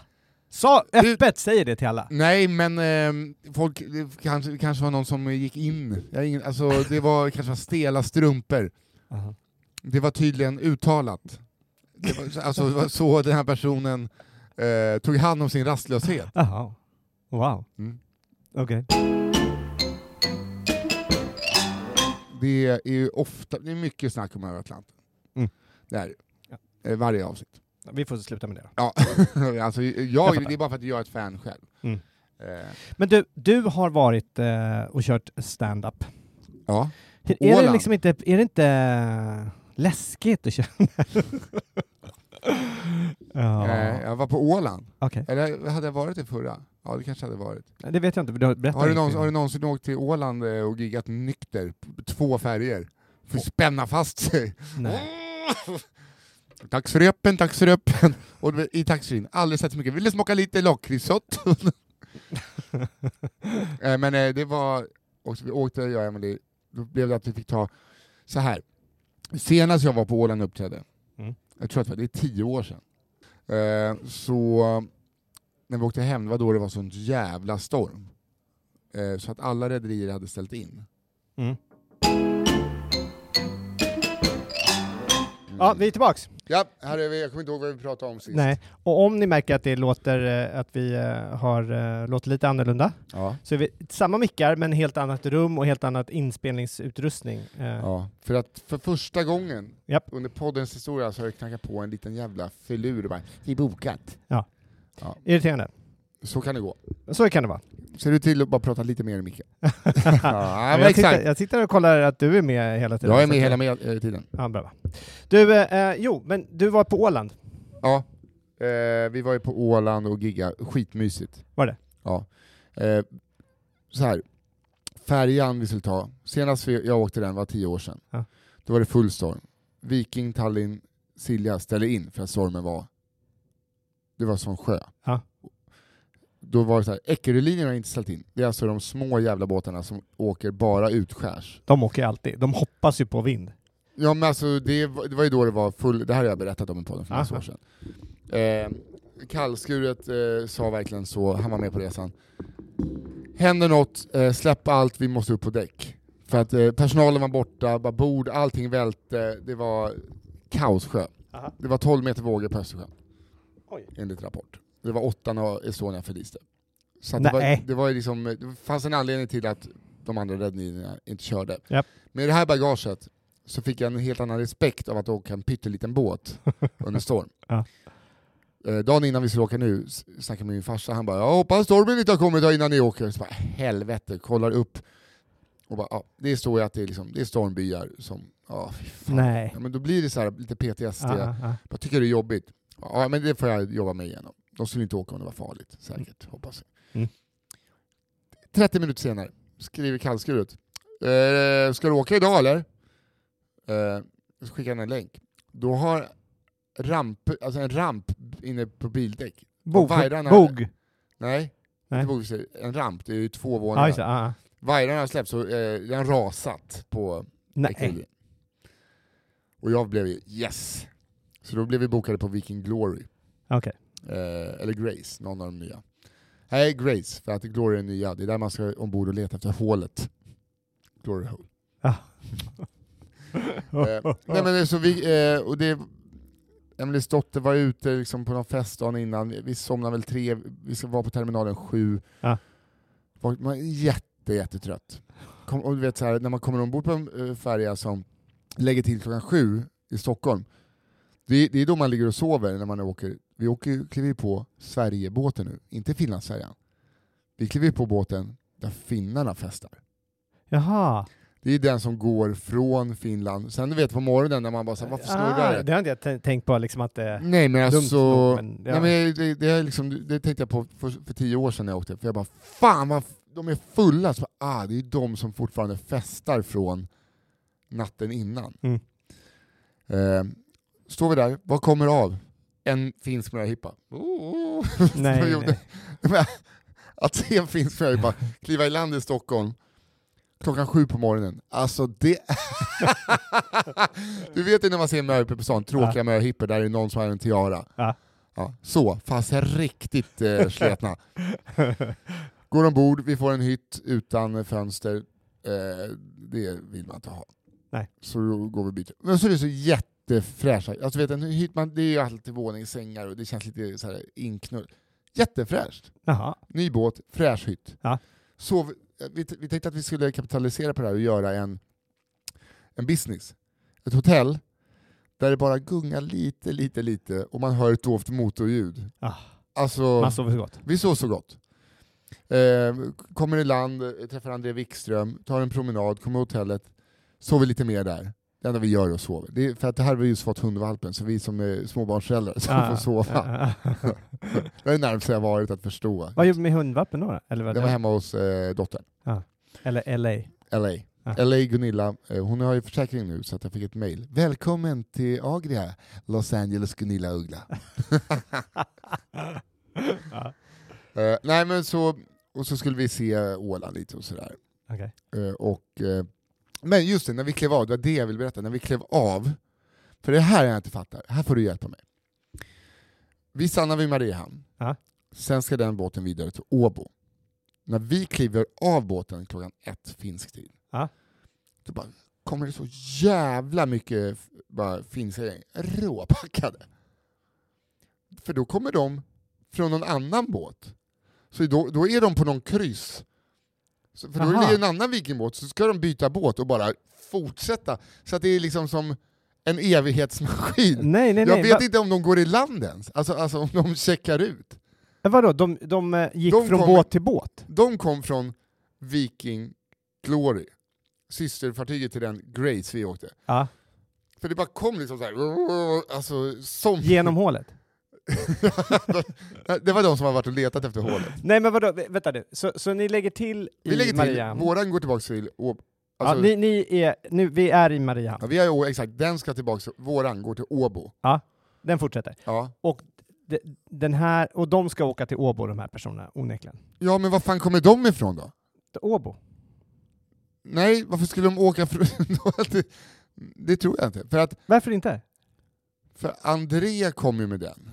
Speaker 4: Sa öppet, säger det till alla.
Speaker 3: Nej men eh, folk, det kanske, kanske var någon som gick in, jag har ingen, alltså det var kanske var stela strumpor.
Speaker 4: Aha.
Speaker 3: Det var tydligen uttalat. Det var, alltså det var så den här personen eh, tog hand om sin rastlöshet.
Speaker 4: Jaha. Wow.
Speaker 3: Mm.
Speaker 4: Okej.
Speaker 3: Det är ju ofta, det är mycket snack om över Atlanten.
Speaker 4: Mm.
Speaker 3: Det är det. Eh, Varje avsnitt.
Speaker 4: Vi får sluta med det då.
Speaker 3: Ja. alltså,
Speaker 4: Jag
Speaker 3: jag,
Speaker 4: fattar.
Speaker 3: det är bara för att jag är ett fan själv.
Speaker 4: Mm.
Speaker 3: Eh,
Speaker 4: Men du, du har varit eh, och kört stand-up.
Speaker 3: ja.
Speaker 4: Är det,
Speaker 3: Åland.
Speaker 4: liksom inte, är det inte läskigt att köra? ja,
Speaker 3: Eh, jag var på Åland.
Speaker 4: okej.
Speaker 3: Eller hade jag varit det förra? Ja, det kanske hade varit.
Speaker 4: Det vet jag inte, för du har berättat
Speaker 3: Har du,
Speaker 4: inget
Speaker 3: någonsin,
Speaker 4: innan.
Speaker 3: har du någonsin åkt till Åland eh, och giggat nykter? P- Två färger? För att spänna fast sig.
Speaker 4: Nej.
Speaker 3: Tack för öppen, tack för öppen. Och i taxin, aldrig sett så mycket. Ville smaka lite lakritssått. Eh, Men eh, det var, och så vi åkte jag och Emelie, då blev det att vi fick ta, så här. senast jag var på Åland och uppträdde,
Speaker 4: Mm.
Speaker 3: jag tror att det var det är tio år sedan, eh, så när vi åkte hem, det var då det var sån jävla storm. Eh, så att alla rederier hade ställt in.
Speaker 4: Mm. Ja, vi är tillbaks.
Speaker 3: Ja, här är vi, jag kommer inte ihåg vad vi pratade om sist.
Speaker 4: Nej. Och om ni märker att det låter, eh, att vi eh, har, eh, låter lite annorlunda,
Speaker 3: Ja.
Speaker 4: så är vi samma mickar men helt annat rum och helt annat inspelningsutrustning. Eh,
Speaker 3: Ja, för att för första gången
Speaker 4: Japp.
Speaker 3: under poddens historia så har jag knackat på en liten jävla filur och bara ”Det är bokat”.
Speaker 4: Irriterande.
Speaker 3: Så kan det gå.
Speaker 4: Så kan det vara.
Speaker 3: Ser du till att bara prata lite mer i micken? ja,
Speaker 4: Men
Speaker 3: men
Speaker 4: jag, sitter,
Speaker 3: exakt.
Speaker 4: jag sitter och kollar att du är med hela tiden.
Speaker 3: Jag är
Speaker 4: Så
Speaker 3: med
Speaker 4: att-
Speaker 3: hela med, eh, tiden.
Speaker 4: Ja, bra. Du, eh, eh, jo, men du var på Åland.
Speaker 3: Ja. Eh, vi var ju på Åland och gigga. skitmysigt.
Speaker 4: Var det?
Speaker 3: Ja. Eh, så här. färjan vi skulle ta, senast vi- jag åkte den var tio år sedan.
Speaker 4: Ja.
Speaker 3: Då var det full storm. Viking, Tallinn, Silja ställde in för att stormen var, det var som sjö.
Speaker 4: Ja.
Speaker 3: Då var det så här, Eckerölinjen har inte ställt in. Det är alltså de små jävla båtarna som åker bara utskärs.
Speaker 4: De åker ju alltid. De hoppas ju på vind.
Speaker 3: Ja men alltså det, var- det var ju då det var full, det här har jag berättat om i podden för massa
Speaker 4: Aha.
Speaker 3: år sedan. Eh, kallskuret eh, sa verkligen så, han var med på resan. Händer något, eh, släpp allt, vi måste upp på däck. För att eh, personalen var borta, bara bord, allting välte, det var kaossjö.
Speaker 4: Aha.
Speaker 3: Det var 12 meter vågor på Östersjön.
Speaker 4: Oj.
Speaker 3: Enligt rapport. Det var åtta när Estonia förliste. Så att det,
Speaker 4: Nej.
Speaker 3: var, det, var ju liksom, det fanns en anledning till att de andra räddningarna inte körde.
Speaker 4: Japp.
Speaker 3: Med det här bagaget så fick jag en helt annan respekt av att åka en pytteliten båt under storm.
Speaker 4: Ja.
Speaker 3: Eh, dagen innan vi skulle åka nu s- snackade med min farsa, han bara ”Jag hoppas stormen inte har kommit här innan ni åker”. Så bara, helvete, kollar upp och bara, ja, det står ju att det är, liksom, det är stormbyar som, ja fy fan.
Speaker 4: Nej.
Speaker 3: Ja, men då blir det så här lite PTSD,
Speaker 4: Ah, ah, ah.
Speaker 3: jag tycker det är jobbigt. Ja men det får jag jobba mig igenom. De skulle inte åka om det var farligt, säkert, hoppas jag.
Speaker 4: Mm.
Speaker 3: 30 minuter senare skriver kallskuret. Eh, ska du åka idag eller? Eh, så skickar han en länk. Då har ramp, alltså en ramp inne på bildäck.
Speaker 4: Bog.
Speaker 3: vajrarna-
Speaker 4: Bog.
Speaker 3: Nej,
Speaker 4: Nej.
Speaker 3: inte bogvisir. En ramp, det är ju två
Speaker 4: Ja,
Speaker 3: våningar.
Speaker 4: just det. Ah, ah.
Speaker 3: Vajrarna har släppts och eh, den har rasat på
Speaker 4: Nej.
Speaker 3: Ecuador. Och jag blev ju yes! Så då blev vi bokade på Viking Glory,
Speaker 4: Okej.
Speaker 3: eh, eller Grace, någon av de nya. Nej, Grace, för att Glory är nya. Det är där man ska ombord och leta efter hålet. Glory Hole. Eh, nej men så vi, eh, och det, Emelies dotter var ute liksom på någon fest dagen innan, vi somnade väl tre, vi ska vara på terminalen sju.
Speaker 4: Ja.
Speaker 3: Var, man är jätte, jättetrött. Kom, och du vet så här, när man kommer ombord på en eh, färja som lägger till klockan sju i Stockholm, det, det är då man ligger och sover när man åker. Vi åker, ju- kliver ju på Sverigebåten nu, inte Finlandsfärjan. Vi kliver ju på båten där finnarna festar.
Speaker 4: Jaha.
Speaker 3: Det är den som går från Finland. Sen du vet på morgonen när man bara såhär, varför snurrar
Speaker 4: Ah,
Speaker 3: det?
Speaker 4: det har inte jag tän- tänkt på liksom att det...
Speaker 3: Nej men
Speaker 4: Dumt
Speaker 3: alltså,
Speaker 4: nog, men ja.
Speaker 3: nej, men det, det, är liksom, det tänkte jag på för, för tio år sedan när jag åkte, för jag bara fan vad f- de är fulla, så bara, ah, det är de som fortfarande festar från natten innan.
Speaker 4: Mm.
Speaker 3: Eh, står vi där, vad kommer av? En finsk möhippa. Oh.
Speaker 4: Nej,
Speaker 3: Jo,
Speaker 4: nej.
Speaker 3: men Att se en finsk möhippa kliva i land i Stockholm klockan sju på morgonen, alltså det... du vet ju när man ser möhippor på stan, tråkiga möhippor där det är någon som har en tiara.
Speaker 4: Ja.
Speaker 3: Ja, så, fast riktigt eh, sletna. Går ombord, vi får en hytt utan fönster. Eh, det vill man inte ha.
Speaker 4: Nej.
Speaker 3: Så då går vi och byter. Men så är det så jättefräscha, alltså vet du, en hytt, man, det är ju alltid våningssängar och det känns lite så här inknull. Jättefräscht.
Speaker 4: Jaha.
Speaker 3: Ny båt, fräsch hytt.
Speaker 4: Ja.
Speaker 3: Så vi, vi, vi tänkte att vi skulle kapitalisera på det här och göra en, en business. Ett hotell där det bara gungar lite, lite, lite och man hör ett dovt motorljud.
Speaker 4: Ah.
Speaker 3: Alltså,
Speaker 4: Man sover så gott.
Speaker 3: vi sov så gott. Eh, kommer i land, eh, träffar André Wikström, tar en promenad, kommer till hotellet, sover lite mer där. Det enda vi gör är att sova. Det är för att det här har vi just fått hundvalpen, så vi som är småbarnsföräldrar ska få
Speaker 4: Ah,
Speaker 3: sova.
Speaker 4: ah, ah.
Speaker 3: Det är närmast jag varit att förstå.
Speaker 4: Vad gjorde du med hundvalpen då? då? Eller, vad
Speaker 3: Jag var hemma hos eh, dottern,
Speaker 4: eller LA?
Speaker 3: LA.
Speaker 4: Ah.
Speaker 3: LA Gunilla, eh, hon har ju försäkring nu så att jag fick ett mail. Välkommen till Agria, Los Angeles Gunilla Uggla.
Speaker 4: Ja,
Speaker 3: Eh, nej men så, och så skulle vi se Åland lite och sådär.
Speaker 4: okej.
Speaker 3: Eh, och, eh, men just det, när vi klev av, det var det jag ville berätta, när vi klev av, för det här är jag inte fattar, här får du hjälpa mig. Vi stannar vid Mariehamn,
Speaker 4: Ja.
Speaker 3: sen ska den båten vidare till Åbo. När vi kliver av båten klockan ett finsk tid,
Speaker 4: Ja.
Speaker 3: då bara, kommer det så jävla mycket f- bara, finska gäng, råpackade. För då kommer de från någon annan båt. Så då, då är de på någon kryss. Så, för då är
Speaker 4: Aha.
Speaker 3: det en annan vikingbåt, så ska de byta båt och bara fortsätta. Så att det är liksom som en evighetsmaskin.
Speaker 4: Nej, nej, nej.
Speaker 3: Mm. Jag vet
Speaker 4: Va-
Speaker 3: inte om de går i land ens, alltså, alltså om de checkar ut.
Speaker 4: Vadå, de, de eh, gick
Speaker 3: De
Speaker 4: från
Speaker 3: kommer-
Speaker 4: båt till båt?
Speaker 3: De kom från Viking Glory, systerfartyget till den Grace vi åkte.
Speaker 4: Ja.
Speaker 3: För det bara kom liksom så här, alltså som...
Speaker 4: Genom hålet?
Speaker 3: det var de som har varit och letat efter hålet.
Speaker 4: Nej, men vadå, vä- vänta nu. Så, så ni lägger till i
Speaker 3: Vi lägger till,
Speaker 4: Mariam?
Speaker 3: våran går tillbaka till Åbo. Alltså,
Speaker 4: ja, ni, ni är, nu, vi är i Mariam.
Speaker 3: ja, vi har, ju Å- exakt, den ska tillbaka, till- våran går till Åbo.
Speaker 4: Den fortsätter.
Speaker 3: Ja.
Speaker 4: De, den här, och de ska åka till Åbo, de här personerna, onekligen.
Speaker 3: ja, men var fan kommer de ifrån då?
Speaker 4: Till Åbo?
Speaker 3: Nej, varför skulle de åka från... det, det tror jag inte. För att
Speaker 4: Varför inte?
Speaker 3: för André kom ju med den.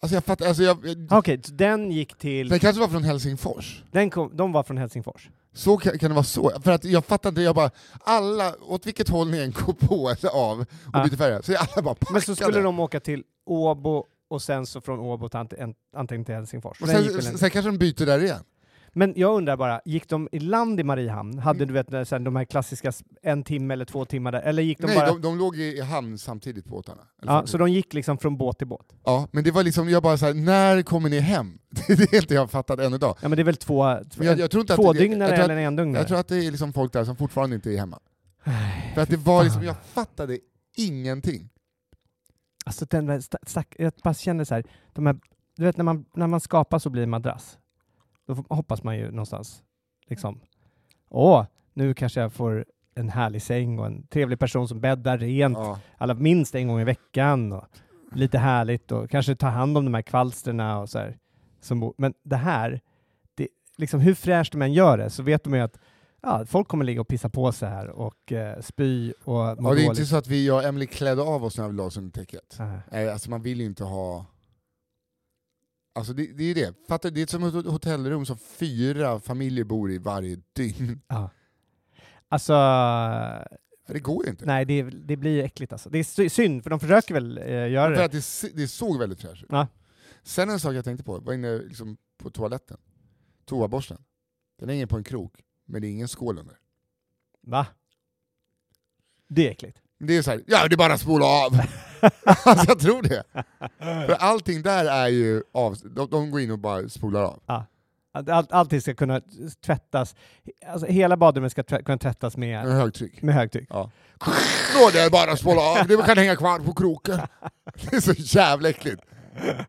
Speaker 3: Alltså jag fattar, alltså jag,
Speaker 4: Ah, Okej, så den gick till...
Speaker 3: den kanske var från Helsingfors.
Speaker 4: Den kom, de var från Helsingfors?
Speaker 3: Så kan, kan det vara så? För att jag fattar inte, jag bara, alla, åt vilket håll ni än går på eller av och
Speaker 4: Ja.
Speaker 3: byter färger, så är alla bara packade.
Speaker 4: Men så skulle de åka till Åbo och sen så från Åbo till ant- en- antingen till Helsingfors.
Speaker 3: och
Speaker 4: Den gick väl
Speaker 3: sen,
Speaker 4: en-
Speaker 3: sen kanske de byter där igen.
Speaker 4: Men jag undrar bara, gick de i land i Mariehamn? Hade du vet när sen de här klassiska s- en timme eller två timmar där? Eller gick de
Speaker 3: Nej,
Speaker 4: bara...
Speaker 3: de, de låg i i hamn samtidigt båtarna. Eller
Speaker 4: ja,
Speaker 3: samtidigt.
Speaker 4: så de gick liksom från båt till båt?
Speaker 3: ja, men det var liksom, jag bara såhär, när kommer ni hem? Det är inte jag har fattat än idag.
Speaker 4: Ja men det är väl två,
Speaker 3: Men jag- jag tror inte att det-
Speaker 4: tvådygnare
Speaker 3: jag tror att-
Speaker 4: eller en endugnare?
Speaker 3: Jag tror att det är liksom folk där som fortfarande inte är hemma. För att det
Speaker 4: Ah.
Speaker 3: var liksom, jag fattade ingenting.
Speaker 4: Alltså den där sta- stack, jag bara känner så här, de här, du vet när man, när man skapar så blir det madrass. Då får- hoppas man ju någonstans, liksom. Åh, nu kanske jag får en härlig säng och en trevlig person som bäddar rent,
Speaker 3: Ja.
Speaker 4: alla minst en gång i veckan och lite härligt och kanske ta hand om de här kvalstren och så här. Som bo- Men det här, det, liksom hur fräscht de än gör det så vet de ju att ja, folk kommer ligga och pissa på sig här och eh, spy och må
Speaker 3: Och det är inte
Speaker 4: dåligt.
Speaker 3: så att vi, jag och Emily klädde av oss när vi la oss under täcket.
Speaker 4: Så här.
Speaker 3: Nej, alltså man vill ju inte ha... Alltså det, det är ju det. Fattar du? Det är som ett hotellrum som fyra familjer bor i varje dygn.
Speaker 4: Alltså,
Speaker 3: Det går ju inte.
Speaker 4: Nej, det, det blir äckligt alltså. Det är sy- synd, för de försöker väl eh, göra
Speaker 3: För
Speaker 4: det.
Speaker 3: att det, se- det såg väldigt fräscht ut.
Speaker 4: Ja.
Speaker 3: Sen en sak jag tänkte på, var inne liksom på toaletten. Toaborsten. Den hänger på en krok, men det är ingen skål under.
Speaker 4: Va? Det är äckligt.
Speaker 3: Men Det är så här, ja det är bara att spola av! alltså jag tror det. För allting där är ju av, de, de går in och bara spolar av.
Speaker 4: Att Allt, allting ska kunna tvättas. Alltså, hela badrummet ska tvä- kunna tvättas
Speaker 3: Med
Speaker 4: med,
Speaker 3: högtryck.
Speaker 4: med högtryck.
Speaker 3: Ja. Nå, det är bara att spola av, det kan hänga kvar på kroken. Det är så jävla äckligt.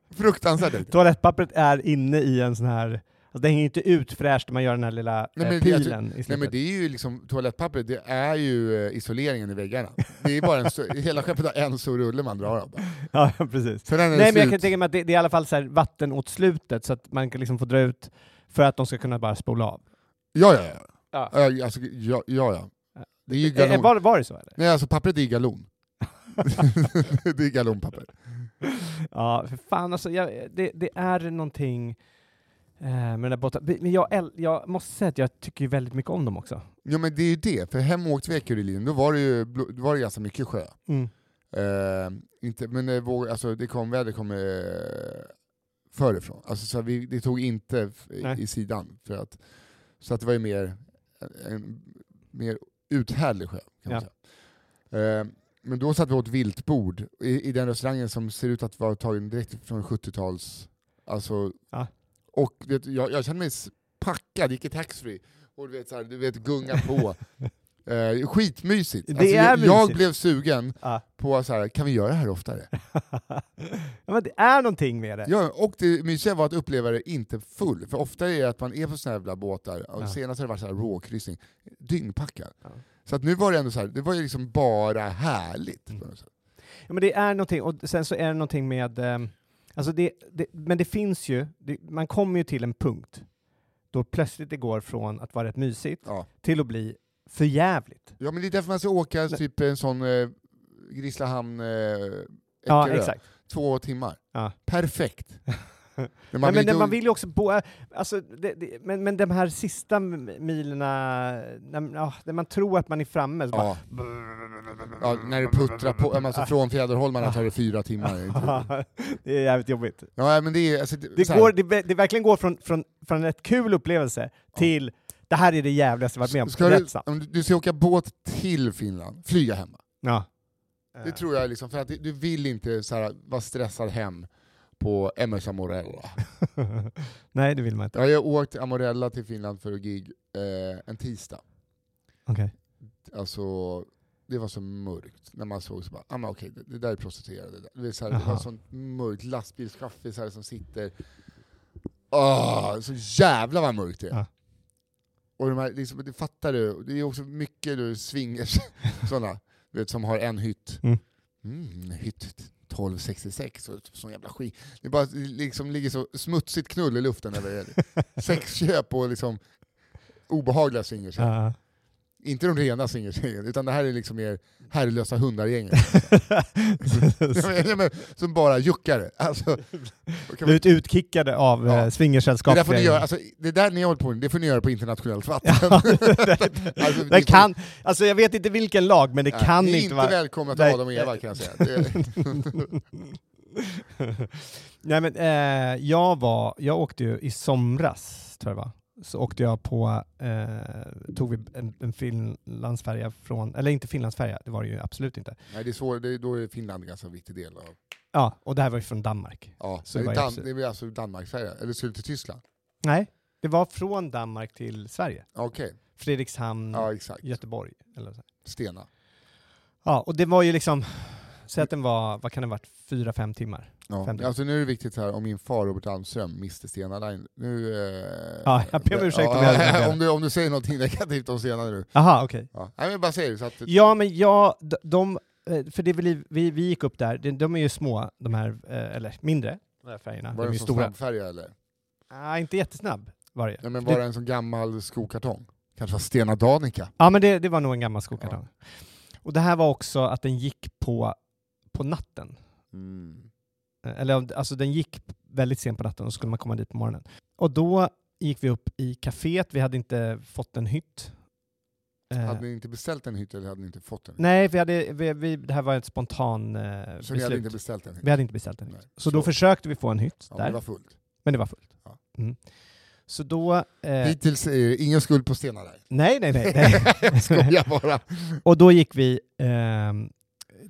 Speaker 3: Fruktansvärt äckligt.
Speaker 4: Toalettpappret är inne i en sån här... Alltså, det hänger inte ut fräscht när man gör den här lilla
Speaker 3: Nej,
Speaker 4: eh,
Speaker 3: men jag tror-
Speaker 4: pilen i
Speaker 3: Nej
Speaker 4: slutet.
Speaker 3: men det är ju liksom, toalettpappret det är ju eh, isoleringen i väggarna. Det är bara en, stor- hela skeppet har en stor rulle man drar av. bara.
Speaker 4: Ja, precis.
Speaker 3: Sen när den är
Speaker 4: Nej, men jag kan
Speaker 3: slut-
Speaker 4: tänka mig att det, det är i alla fall så här vatten åt slutet så att man kan liksom få dra ut för att de ska kunna bara spola av.
Speaker 3: Ja, ja, ja.
Speaker 4: Ja.
Speaker 3: Eh, Alltså, ja, ja, ja. Det är ju
Speaker 4: Eh,
Speaker 3: galon.
Speaker 4: Var, var det så eller?
Speaker 3: Nej, alltså pappret är galon. det är galonpapper.
Speaker 4: Ja, för fan alltså, jag, det, det är någonting eh, med den där båten. Men jag, äl- jag måste säga att jag tycker ju väldigt mycket om dem också.
Speaker 3: Ja men det är ju det, för hem åkte vi Ekerölinjen, då var det ju bl- då var det ganska mycket sjö. Eh, inte, men eh, våg, alltså, det kom, vädret kom eh, förifrån. Alltså, så här, vi, det tog inte f-
Speaker 4: Nej.
Speaker 3: i, i sidan. För att, så att det var ju mer, en, mer uthärdlig sjö. Kan man
Speaker 4: Ja.
Speaker 3: säga. Eh, men då satt vi åt viltbord i, i den restaurangen som ser ut att vara tagen direkt från 70-tals... Alltså,
Speaker 4: Ja.
Speaker 3: Och vet, du, jag, jag kände mig s- packad, gick i taxfree och du vet, så här, du vet gunga på. Eh, skitmysigt.
Speaker 4: Det
Speaker 3: alltså,
Speaker 4: är
Speaker 3: jag, jag
Speaker 4: mysigt.
Speaker 3: blev sugen
Speaker 4: Ja.
Speaker 3: på så här, kan vi göra det här oftare?
Speaker 4: ja, men det är någonting med det.
Speaker 3: Ja, och det mysiga var att uppleva det inte full, för ofta är det att man är på såna här jävla båtar, och
Speaker 4: Ja.
Speaker 3: senast har det varit så här råkryssning, dyngpackad.
Speaker 4: Ja.
Speaker 3: Så att nu var det ändå så här, det var ju liksom bara härligt.
Speaker 4: Mm.
Speaker 3: på något sätt.
Speaker 4: Ja, men det är någonting, och sen så är det någonting med... ehm, alltså det, det, men det finns ju, det, man kommer ju till en punkt då plötsligt det går från att vara rätt mysigt
Speaker 3: Ja.
Speaker 4: till att bli för jävligt.
Speaker 3: ja men det är därför man ska åka
Speaker 4: Nej.
Speaker 3: typ en sån eh, Grisslehamn, eh,
Speaker 4: Ja,
Speaker 3: Eckerö.
Speaker 4: exakt.
Speaker 3: två timmar.
Speaker 4: Ja.
Speaker 3: Perfekt. Men
Speaker 4: Man men
Speaker 3: inte-
Speaker 4: vill man vill ju också bo, alltså, det, det, men, men de här sista m- milerna, när, ja, när man tror att man är framme, så bara,
Speaker 3: Ja. Ja, när det puttrar på, alltså från Fjäderholmarna tar det fyra timmar.
Speaker 4: det är jävligt jobbigt.
Speaker 3: Ja, men det är, alltså,
Speaker 4: Det,
Speaker 3: så här.
Speaker 4: går, det, vä- det verkligen går från, från, från en kul upplevelse till det här är det jävligaste jag varit med om.
Speaker 3: Ska
Speaker 4: Rätt
Speaker 3: du,
Speaker 4: snabbt.
Speaker 3: om du- du ska åka båt till Finland, flyga hemma.
Speaker 4: Ja.
Speaker 3: Det
Speaker 4: Eh.
Speaker 3: tror jag, liksom, för att du vill inte så här, vara stressad hem på MS Amorella.
Speaker 4: Nej, det vill man inte.
Speaker 3: Jag har ju åkt Amorella till Finland för att gig eh, en tisdag.
Speaker 4: Okej.
Speaker 3: Alltså, det var så mörkt när man såg så bara, ah, men okej, det, det där är prostituerade. Det, det, är så här, det
Speaker 4: Jaha.
Speaker 3: var sånt mörkt, lastbilschaffisar som sitter. Åh, så jävla vad mörkt det är.
Speaker 4: Ja.
Speaker 3: Och de här, liksom, det fattar du, det är också mycket du swingers, sådana, du vet, som har en hytt.
Speaker 4: Mm.
Speaker 3: Mm, hytt 1266, så, typ sån jävla skit. Det bara det liksom ligger så smutsigt knull i luften över sexköp och liksom obehagliga swingers.
Speaker 4: Ja.
Speaker 3: Inte de rena singeltjejerna, utan det här är liksom mer herrelösa hundargänget. Ja, men- ja, men som bara juckare. Alltså, då kan man,
Speaker 4: Blivit utkickade av
Speaker 3: Ja.
Speaker 4: ja.
Speaker 3: det,
Speaker 4: swingersällskap.
Speaker 3: där får ni
Speaker 4: flera
Speaker 3: göra,
Speaker 4: gånger.
Speaker 3: alltså, det där ni har hållit på med, det får ni göra på internationellt vatten. Alltså,
Speaker 4: det
Speaker 3: ni får-
Speaker 4: kan, alltså jag vet inte vilken lag, men det
Speaker 3: Nej,
Speaker 4: kan
Speaker 3: ni är
Speaker 4: inte vara...
Speaker 3: välkomna till
Speaker 4: Nej.
Speaker 3: Adam och Eva kan jag säga. Det,
Speaker 4: Nej men eh, jag var, jag åkte ju i somras, tror jag va? så åkte jag på, eh, tog vi en, en Finlandsfärja från, eller inte Finlandsfärja, det var det ju absolut inte.
Speaker 3: Nej, det är svårt, det är, då är Finland en ganska viktig del av...
Speaker 4: Ja, och det här var ju från Danmark.
Speaker 3: Ja,
Speaker 4: Så
Speaker 3: så det,
Speaker 4: var
Speaker 3: är
Speaker 4: jag
Speaker 3: Dan,
Speaker 4: absolut-
Speaker 3: det är väl alltså Danmarksfärja, eller skulle till Tyskland?
Speaker 4: Nej, det var från Danmark till Sverige.
Speaker 3: Ja, Okej,
Speaker 4: Fredrikshamn,
Speaker 3: ja exakt.
Speaker 4: Göteborg. Eller så.
Speaker 3: Stena.
Speaker 4: Ja, och det var ju liksom, säg att den var, vad kan det ha varit, fyra, fem timmar.
Speaker 3: Ja.
Speaker 4: Femtio.
Speaker 3: Alltså nu är det viktigt här, om min far Robert Almström miste Stena Line, nu... Eh,
Speaker 4: Ja, jag ber om ursäkt om
Speaker 3: om,
Speaker 4: jag hade fel.
Speaker 3: om, du, om du säger någonting negativt om Stena nu.
Speaker 4: Aha, okej.
Speaker 3: Ja. Nej men bara säger det, så att...
Speaker 4: Ja, men ja, d- de, eh, för det är väl i- vi, vi gick upp där, de, de är ju små, de här, eh, eller mindre, de här färgerna.
Speaker 3: Var
Speaker 4: de är
Speaker 3: det
Speaker 4: ju
Speaker 3: en sån
Speaker 4: stora.
Speaker 3: snabbfärja eller?
Speaker 4: Ah, inte jättesnabb var det ju.
Speaker 3: Ja, men
Speaker 4: Det-
Speaker 3: var det en sån gammal skokartong? Kanske var Stena Danica?
Speaker 4: Ja, men det, det var nog en gammal skokartong. Och det här var också att den gick på, på natten.
Speaker 3: Mm.
Speaker 4: Eh, Eller om- alltså den gick väldigt sent på natten och så skulle man komma dit på morgonen. Och då gick vi upp i kaféet, vi hade inte fått en hytt. Eh,
Speaker 3: Hade ni inte beställt en hytt eller hade ni inte fått en?
Speaker 4: Nej, vi hade, vi, vi, det här var ett spontan eh,
Speaker 3: så ni hade
Speaker 4: beslut.
Speaker 3: inte beställt en hytt?
Speaker 4: Vi hade inte beställt en hytt.
Speaker 3: Nej.
Speaker 4: Så, då försökte vi få en hytt
Speaker 3: ja,
Speaker 4: där,
Speaker 3: men det var fullt.
Speaker 4: fullt.
Speaker 3: Ja.
Speaker 4: Mm. Så då... Eh,
Speaker 3: Hittills är det ingen skuld på Stena Line.
Speaker 4: nej, nej, nej. nej.
Speaker 3: Jag skojar bara.
Speaker 4: Och då gick vi ehm,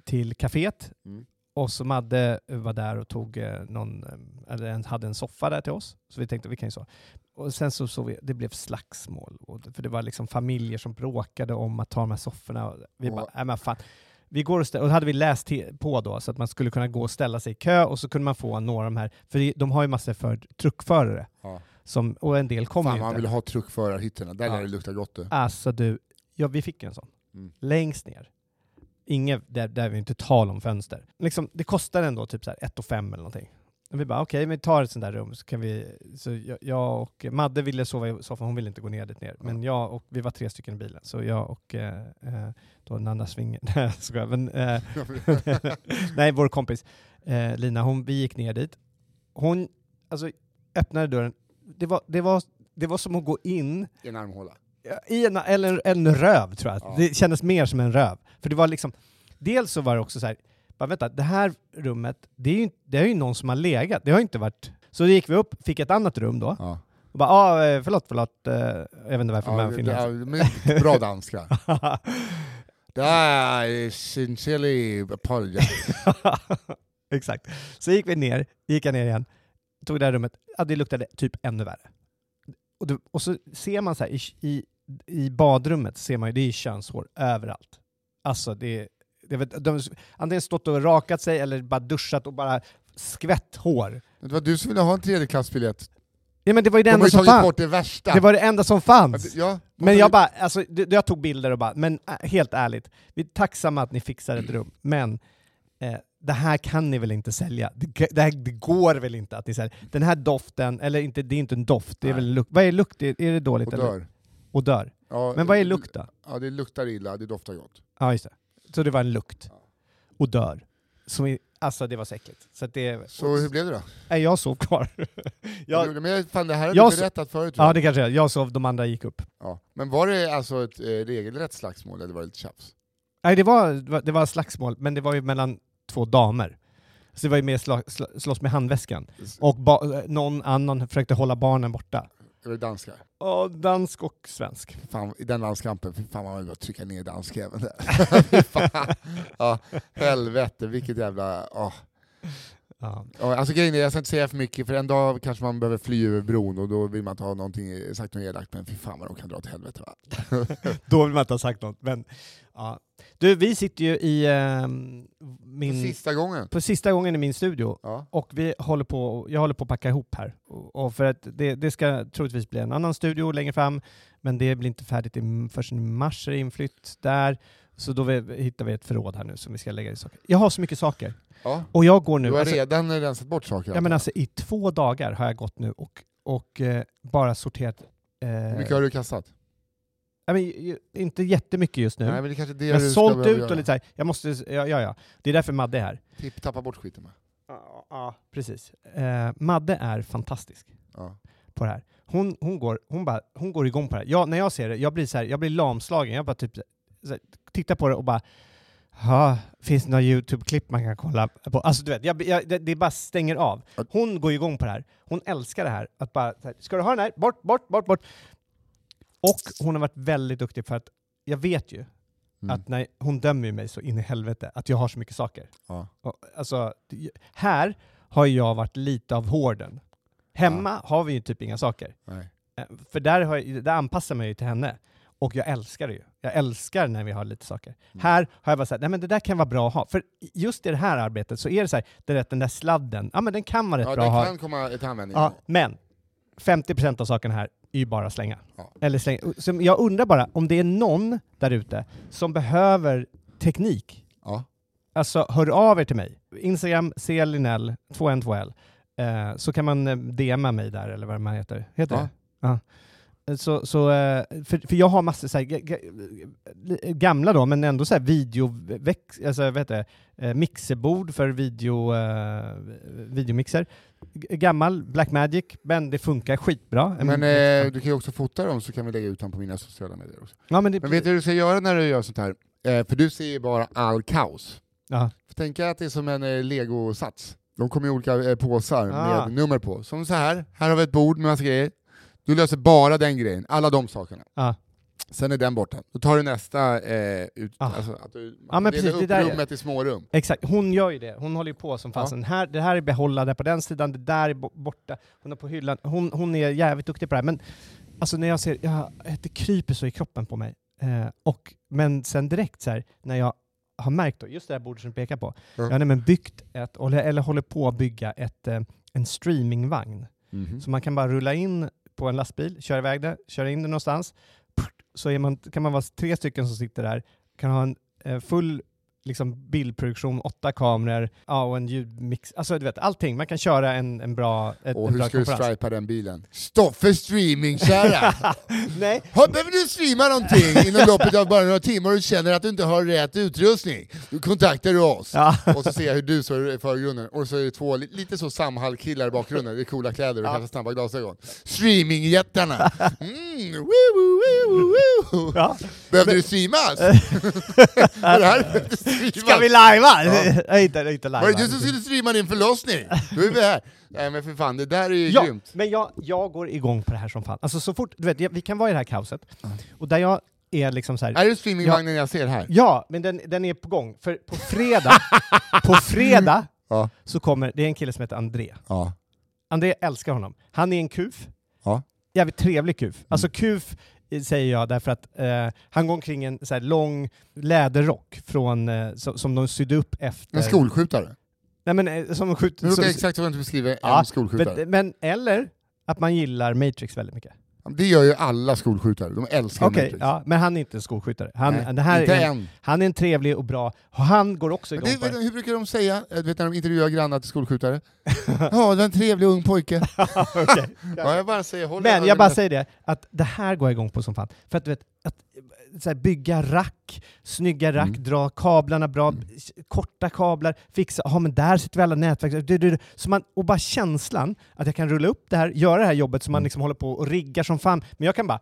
Speaker 4: till kaféet
Speaker 3: Mm.
Speaker 4: och så Madde var där och tog eh, någon, eh, eller en- hade en soffa där till oss. Så vi tänkte vi kan ju så. Och sen så såg vi, det blev slagsmål. Och, det- för det var liksom familjer som bråkade om att ta de här sofforna. Och vi
Speaker 3: Och-
Speaker 4: bara, nej men fan. Vi går och, stä- och hade vi läst te- på då, så att man skulle kunna gå och ställa sig i kö och så kunde man få några av de här, för det- de har ju massor för truckförare.
Speaker 3: Ja.
Speaker 4: Som, och en del kommer
Speaker 3: Fan,
Speaker 4: ju
Speaker 3: man
Speaker 4: inte.
Speaker 3: vill ha truckförarhytterna, där
Speaker 4: Ja.
Speaker 3: lär det lukta gott du.
Speaker 4: Alltså du, ja vi fick ju en sån.
Speaker 3: Mm.
Speaker 4: Längst ner. Inget, där, där vi inte tal om fönster. Liksom, det kostar ändå typ så här 1 5 eller någonting. Och vi bara okej, men vi tar ett sånt där rum så kan vi... Så jag, jag och Madde ville sova i soffan, hon ville inte gå ner dit ner. Men jag och, vi var tre stycken i bilen, så jag och eh, eh, då den andra svingen, nej jag skojar, men... Eh, nej, vår kompis eh, Lina, hon, vi gick ner dit. Hon, alltså öppnade dörren. Det var, det var, det var som att gå in
Speaker 3: I en armhåla.
Speaker 4: i en, eller en röv tror jag.
Speaker 3: Ja.
Speaker 4: Det kändes mer som en röv. För det var liksom, dels så var det också så här, bara vänta, det här rummet, det är ju, det är ju någon som har legat. Det har ju inte varit... Så gick vi upp, fick ett annat rum då.
Speaker 3: Ja.
Speaker 4: Och bara, ah, eh, förlåt, förlåt. eh, Jag vet inte varför
Speaker 3: Ja,
Speaker 4: man
Speaker 3: det, ja,
Speaker 4: finns.
Speaker 3: men bra danska. I sincerely apologize.
Speaker 4: Exakt. Så gick vi ner, gick jag ner igen, tog det här rummet. Ja, det luktade typ ännu värre. Och, du, och så ser man så här, i, i, i badrummet ser man ju, det är könshår överallt. Alltså det är, jag vet, de har antingen stått och rakat sig eller bara duschat och bara skvätt hår.
Speaker 3: Det var du som ville ha en tredjeklassbiljett.
Speaker 4: Ja men det var ju det
Speaker 3: De har
Speaker 4: enda
Speaker 3: ju
Speaker 4: som
Speaker 3: tagit
Speaker 4: fanns.
Speaker 3: bort det värsta.
Speaker 4: Det var det enda som fanns.
Speaker 3: ja, de
Speaker 4: Men
Speaker 3: tar-
Speaker 4: jag bara, alltså, det- jag tog bilder och bara, men äh, helt ärligt, vi är tacksamma att ni fixar ett rum, men eh, det här kan ni väl inte sälja? Det, g- det, här, det går väl inte att ni säljer? Den här doften, eller inte, det är inte en doft, det är
Speaker 3: Nej.
Speaker 4: väl lukt. Vad är lukt? Är, är det dåligt?
Speaker 3: och
Speaker 4: Eller?
Speaker 3: dör.
Speaker 4: Och dör.
Speaker 3: Ja,
Speaker 4: Men vad är lukt då?
Speaker 3: Ja, det luktar illa, det doftar gott.
Speaker 4: Ja, just det. Så det var en lukt. Och dör. Som är, alltså det var så äckligt. Så att det,
Speaker 3: Så hur blev det då?
Speaker 4: nej, jag sov kvar. jag,
Speaker 3: Men jag, fan, det här har
Speaker 4: Jag
Speaker 3: du
Speaker 4: så-
Speaker 3: berättat förut. tror
Speaker 4: ja,
Speaker 3: jag.
Speaker 4: det kanske jag Jag sov, de andra gick upp.
Speaker 3: Ja. Men var det alltså ett eh, regelrätt slagsmål eller var det lite tjafs?
Speaker 4: Nej, det var, det var- det var slagsmål, men det var ju mellan två damer. Så det var ju mer sla, sla, slåss med handväskan. Och ba, någon annan försökte hålla barnen borta.
Speaker 3: Eller danskar?
Speaker 4: Och dansk och svensk.
Speaker 3: Fan, I den landskampen, fy fan man vill bara trycka ner danskjäveln där. Fy fan. ja, helvete, vilket jävla... åh.
Speaker 4: Ja.
Speaker 3: Ja, alltså grejen är, jag ska inte säga för mycket, för en dag kanske man behöver fly över bron och då vill man inte ha någonting, sagt något elakt, men fy fan vad de kan dra åt helvete va?
Speaker 4: Då vill man inte ha sagt något. Men, ja. Du, vi sitter ju i ehm, min...
Speaker 3: Sista gången.
Speaker 4: På sista gången i min studio.
Speaker 3: Ja.
Speaker 4: Och vi håller på, jag håller på att packa ihop här. Och, och för att det, det ska troligtvis bli en annan studio längre fram, men det blir inte färdigt i- förrän i mars är det inflytt där. Så då vi, hittar vi ett förråd här nu som vi ska lägga i saker. Jag har så mycket saker.
Speaker 3: Ja.
Speaker 4: Och jag går nu...
Speaker 3: Du har
Speaker 4: alltså,
Speaker 3: redan rensat bort saker.
Speaker 4: ja, men alltså, I två dagar har jag gått nu och, och eh, bara sorterat... Eh,
Speaker 3: Hur mycket har du kastat?
Speaker 4: ja, men, ju- inte jättemycket just nu.
Speaker 3: Nej, men det är kanske är det
Speaker 4: jag har
Speaker 3: du ska
Speaker 4: sålt
Speaker 3: behöva
Speaker 4: ut
Speaker 3: göra.
Speaker 4: och lite så här, jag måste, ja, ja, ja. Det är därför Madde är här.
Speaker 3: Tipp- Tappa bort skiten med.
Speaker 4: Ja, precis. Eh, Madde är fantastisk.
Speaker 3: Ja.
Speaker 4: på det här. Hon, hon, går, hon, bara, hon går igång på det här. Jag, när jag ser det, jag blir, så här, jag blir lamslagen. Jag bara typ så här, tittar på det och bara Ha, finns det några YouTube-klipp man kan kolla på? Alltså du vet, jag, jag, det, det bara stänger av. Hon går ju igång på det här. Hon älskar det här. Att bara, så här, ska du ha den här? Bort, bort, bort, bort. Och hon har varit väldigt duktig för att jag vet ju att när hon dömer ju mig så in i helvete, att jag har så mycket saker.
Speaker 3: Ja.
Speaker 4: Och, alltså, det- här har jag varit lite av hården. Hemma har vi ju typ inga saker.
Speaker 3: Nej.
Speaker 4: Eh, För där, har jag, där anpassar man ju till henne. Och jag älskar det ju. Jag älskar när vi har lite saker.
Speaker 3: Mm.
Speaker 4: Här har jag bara sagt, nej men det där kan vara bra att ha. För just i det här arbetet så är det så här, det är rätt, den där sladden, ja men den kan vara rätt
Speaker 3: Ja,
Speaker 4: bra att
Speaker 3: den
Speaker 4: ha.
Speaker 3: kan komma till användning.
Speaker 4: Ja, men 50% av sakerna här är ju bara att slänga.
Speaker 3: Ja.
Speaker 4: Eller slänga. Så jag undrar bara om det är någon där ute som behöver teknik.
Speaker 3: Ja.
Speaker 4: Alltså hör av er till mig. Instagram clinell2n2l. Eh, så kan man eh, DMa mig där eller vad man heter. Heter
Speaker 3: Ja.
Speaker 4: det? Ja. Eh, Så, så, eh, för, för jag har massor så här, ga- ga- gamla då, men ändå så här video, alltså, vad heter det? Eh, mixerbord för video, eh, videomixer. G- gammal Blackmagic, men det funkar skitbra. Mm,
Speaker 3: Men eh, du kan ju också fota dem så kan vi lägga ut dem på mina sociala medier också.
Speaker 4: ja, men det,
Speaker 3: Men vet du hur du ska göra när du gör sånt här? Eh, för du ser ju bara all kaos.
Speaker 4: ja.
Speaker 3: Tänk att det är som en eh, legosats. De kommer i olika eh, påsar
Speaker 4: Ah.
Speaker 3: med nummer på. Som så här, här har vi ett bord med massa grejer. Du löser bara den grejen, alla de sakerna.
Speaker 4: Ja.
Speaker 3: Sen är den borta. Då tar du nästa eh, ut.
Speaker 4: Ah.
Speaker 3: Alltså, att du,
Speaker 4: Ja,
Speaker 3: delar
Speaker 4: men precis, det
Speaker 3: upp
Speaker 4: där är-
Speaker 3: rummet i smårum.
Speaker 4: Exakt, hon gör ju det. Hon håller ju på som fasen. Här, det här är behållare på den sidan, det där är bo- borta. Hon är på hyllan. Hon, hon är jävligt duktig på det här. Men alltså när jag ser, jag, det kryper så i kroppen på mig. Eh, och, men sen direkt så här, när jag har märkt då, just det här bordet som du pekar på.
Speaker 3: Mm.
Speaker 4: Jag har nämligen byggt ett, eller, eller håller på att bygga ett, eh, en streamingvagn. Mm. Så man kan bara rulla in på en lastbil, köra iväg det, köra in det någonstans. Prt, Så är man, kan man vara tre stycken som sitter där, kan ha en eh, full liksom, bildproduktion, åtta kameror ja, och en ljudmix. Alltså du vet, allting. Man kan köra en, en bra, ett,
Speaker 3: Och
Speaker 4: en
Speaker 3: hur
Speaker 4: bra
Speaker 3: ska du
Speaker 4: konferens.
Speaker 3: stripa den bilen? Stopp för streaming kära!
Speaker 4: Nej,
Speaker 3: Har- Behöver du streama någonting inom loppet av bara några timmar och känner att du inte har rätt utrustning? Då kontaktar du oss.
Speaker 4: Ja.
Speaker 3: Och så ser jag hur du står i förgrunden. Och så är det två li- lite så Samhall-killar i bakgrunden i coola kläder och kanske snabba glasögon. Streamingjättarna! Mm, woo, woo, woo, woo, woo.
Speaker 4: Ja.
Speaker 3: Behövde du streamas? Var det här behövde streamas?
Speaker 4: ska vi lajva? Nej, inte, inte lajva.
Speaker 3: Var det du som skulle streama din förlossning? Då är vi här. Nej men för fan, det där är ju
Speaker 4: Ja,
Speaker 3: grymt.
Speaker 4: men jag, jag går igång på det här som fan. Alltså så fort, du vet, jag- vi kan vara i det här kaoset, och där jag är liksom så här,
Speaker 3: Är det streamingvagnen jag ser här?
Speaker 4: Ja, men den, den är på gång. För på fredag, på fredag
Speaker 3: Ja.
Speaker 4: så kommer, det är en kille som heter André.
Speaker 3: Ja.
Speaker 4: André älskar honom. Han är en kuf.
Speaker 3: Ja. Mm.
Speaker 4: Jävligt trevlig kuf. Alltså kuf eh, säger jag därför att eh, han går omkring i en så här lång läderrock från, eh, som, som de sydde upp efter...
Speaker 3: En skolskjutare.
Speaker 4: Nej men eh, som
Speaker 3: Nu
Speaker 4: skjuter...
Speaker 3: råkar jag exakt som att beskriva en skolskjutare.
Speaker 4: men, eh, men eller att man gillar Matrix väldigt mycket.
Speaker 3: Det gör ju alla skolskjutare, de älskar
Speaker 4: Okej,
Speaker 3: Matrix.
Speaker 4: ja, men han är inte en skolskjutare. Han,
Speaker 3: Nej,
Speaker 4: det här
Speaker 3: inte
Speaker 4: är,
Speaker 3: än.
Speaker 4: han är en trevlig och bra... Han går också
Speaker 3: Men
Speaker 4: igång
Speaker 3: det,
Speaker 4: på
Speaker 3: vet,
Speaker 4: det.
Speaker 3: du, hur brukar de säga eh, du vet, när de intervjuar grannar till skolskjutare? Ja, det var en trevlig ung pojke.
Speaker 4: Okej.
Speaker 3: ja, jag bara säger, håll
Speaker 4: Men
Speaker 3: ögonen
Speaker 4: jag bara
Speaker 3: där.
Speaker 4: säger det, att det här går jag igång på som fan. För att du vet, att eh, så här, bygga rack, snygga rack,
Speaker 3: Mm.
Speaker 4: dra kablarna bra, s- korta kablar, fixa, ja men där sitter vi alla nätverk, du, du, du. Så man, och bara känslan att jag kan rulla upp det här, göra det här jobbet
Speaker 3: Mm.
Speaker 4: som man liksom håller på och riggar som fan, men jag kan bara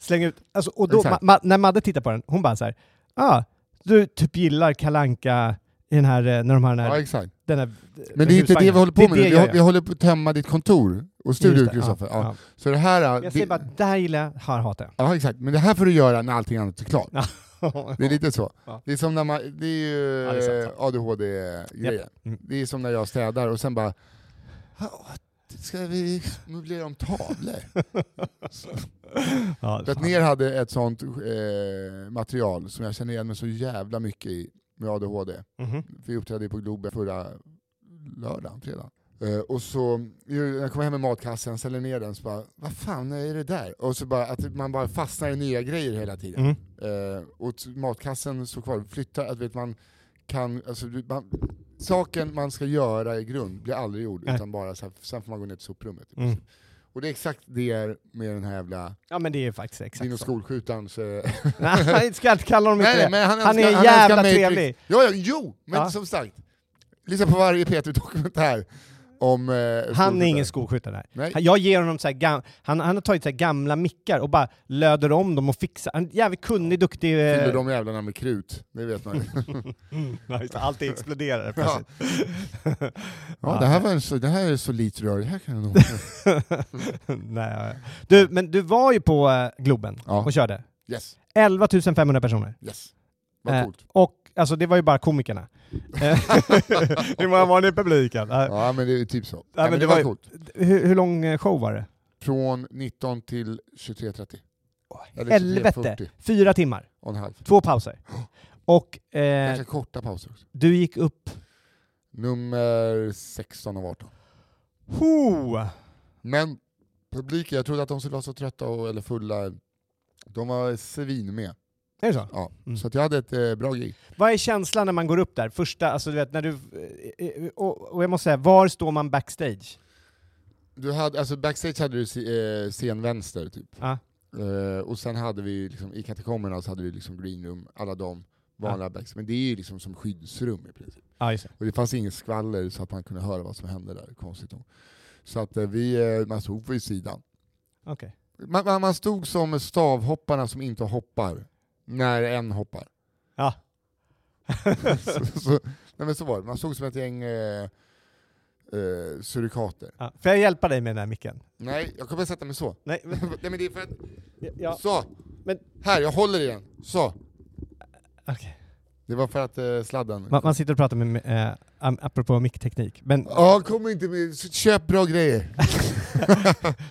Speaker 4: slänga ut, alltså, och då, ma,
Speaker 3: Exakt.
Speaker 4: ma, när Madde tittar på den, hon bara så här, ah, du typ gillar Kalanka i den här, eh, när de har den här,
Speaker 3: Ja, exakt.
Speaker 4: den här eh,
Speaker 3: Men det är inte det vi håller på med nu, vi,
Speaker 4: gör
Speaker 3: hå-
Speaker 4: jag.
Speaker 3: vi håller på att tömma ditt kontor och
Speaker 4: Just
Speaker 3: studio,
Speaker 4: det, ja,
Speaker 3: Kristoffer. Ja,
Speaker 4: ja.
Speaker 3: Så det här...
Speaker 4: Jag
Speaker 3: Det,
Speaker 4: säger bara, det här gillar jag, här hatar jag.
Speaker 3: ja, exakt. Men det här får du göra när allting annat är klart. Det är lite så.
Speaker 4: Ja.
Speaker 3: Det är som när man, det är ju eh,
Speaker 4: Ja, det är sant, sant.
Speaker 3: ADHD-grejen.
Speaker 4: Japp. Mm.
Speaker 3: Det är som när jag städar och sen bara, "Ja, ska vi möblera om tavlor?
Speaker 4: Ja, fan.
Speaker 3: Bettner hade ett sånt eh, material som jag känner igen mig så jävla mycket i med ADHD.
Speaker 4: Mhm.
Speaker 3: Vi uppträdde ju på Globen förra lördagen, fredagen. Eh, och så, ju- jag kommer hem med matkassen, ställer ner den, så bara vad fan är det där? Och så bara att man bara fastnar i nya grejer hela tiden.
Speaker 4: Mm.
Speaker 3: Eh, och t- matkassen står kvar, flyttar, att vet man kan, alltså du- man, saken man ska göra i grund blir aldrig gjord,
Speaker 4: Nej.
Speaker 3: utan bara så här, sen får man gå ner till soprummet.
Speaker 4: Mm.
Speaker 3: Och det är exakt det är med den här jävla
Speaker 4: Ja men det är faktiskt
Speaker 3: Dino
Speaker 4: exakt så.
Speaker 3: skolskjutarens... eh,
Speaker 4: Nej, ska jag inte kalla honom inte det.
Speaker 3: men
Speaker 4: han är
Speaker 3: älskar-
Speaker 4: jävla
Speaker 3: älskar Matrix.
Speaker 4: trevlig.
Speaker 3: Ja, ja, jo, men
Speaker 4: Ja.
Speaker 3: som sagt. Lyssna på varje Peter-dokumentär. om... Eh,
Speaker 4: Han är ingen skoskyttare. nej.
Speaker 3: Nej.
Speaker 4: Han- Jag ger honom så här gam- han, han har tagit så här gamla mickar och bara löder om dem och fixar. Han är jävligt kunnig, duktig. eh,
Speaker 3: Fyller de jävlarna med krut, det vet man ju.
Speaker 4: Nej, just det, Allt exploderar
Speaker 3: ja.
Speaker 4: plötsligt.
Speaker 3: ja, det här var en, så- det här är så litet rör, det här kan jag nog...
Speaker 4: Nej, ja, ja. du, men du var ju på eh, Globen
Speaker 3: Ja.
Speaker 4: och körde.
Speaker 3: Yes,
Speaker 4: 11 500 personer.
Speaker 3: yes. Vad
Speaker 4: Eh,
Speaker 3: coolt.
Speaker 4: och alltså, det var ju bara komikerna. Eh, Hur många var ni i publiken? Eh,
Speaker 3: Ja, men det är ju typ så. Nej, men
Speaker 4: men
Speaker 3: det,
Speaker 4: det
Speaker 3: var,
Speaker 4: var ju-
Speaker 3: coolt.
Speaker 4: Hur, hur lång eh, show var det?
Speaker 3: Från 19 till 23.30. Eller 23.40
Speaker 4: Helvete! Fyra timmar.
Speaker 3: och en halv.
Speaker 4: Två pauser. Och eh,
Speaker 3: Ganska korta pauser också.
Speaker 4: du gick upp...
Speaker 3: Nummer 16 och 18.
Speaker 4: Ho!
Speaker 3: Men publiken, jag trodde att de skulle vara så trötta och, eller fulla. De var svin med.
Speaker 4: Är det så?
Speaker 3: Ja.
Speaker 4: Mm.
Speaker 3: Så att jag hade ett eh, bra gig.
Speaker 4: Vad är känslan när man går upp där? Första, alltså du vet, när du... eh, eh, Och, och jag måste säga, var står man backstage?
Speaker 3: Du hade, alltså backstage hade du sc- eh, scenvänster typ.
Speaker 4: Ja.
Speaker 3: Eh, och sen hade vi liksom, i katakomberna så hade vi liksom greenroom, alla de vanliga backstage. Men det är ju liksom som skyddsrum i princip.
Speaker 4: Ja, just det.
Speaker 3: Och det fanns inget skvaller så att man kunde höra vad som hände där, konstigt nog. Så att eh, vi, eh, man stod vid sidan.
Speaker 4: Okej.
Speaker 3: Man, man, man stod som stavhopparna som inte hoppar, när en hoppar.
Speaker 4: Ja.
Speaker 3: så, så, nej men så var det, man stod som ett gäng eh, eh, surikater.
Speaker 4: Ja. Får jag hjälpa dig med den här micken?
Speaker 3: Nej, jag kommer sätta mig så.
Speaker 4: Nej, men,
Speaker 3: nej men det är för att,
Speaker 4: ja,
Speaker 3: så!
Speaker 4: men
Speaker 3: Här, jag håller i den. Så!
Speaker 4: okej.
Speaker 3: Det var för att eh, sladden...
Speaker 4: Man, man sitter och pratar med, eh, am- apropå mickteknik, men
Speaker 3: Ja, kom inte med... Köp bra grejer!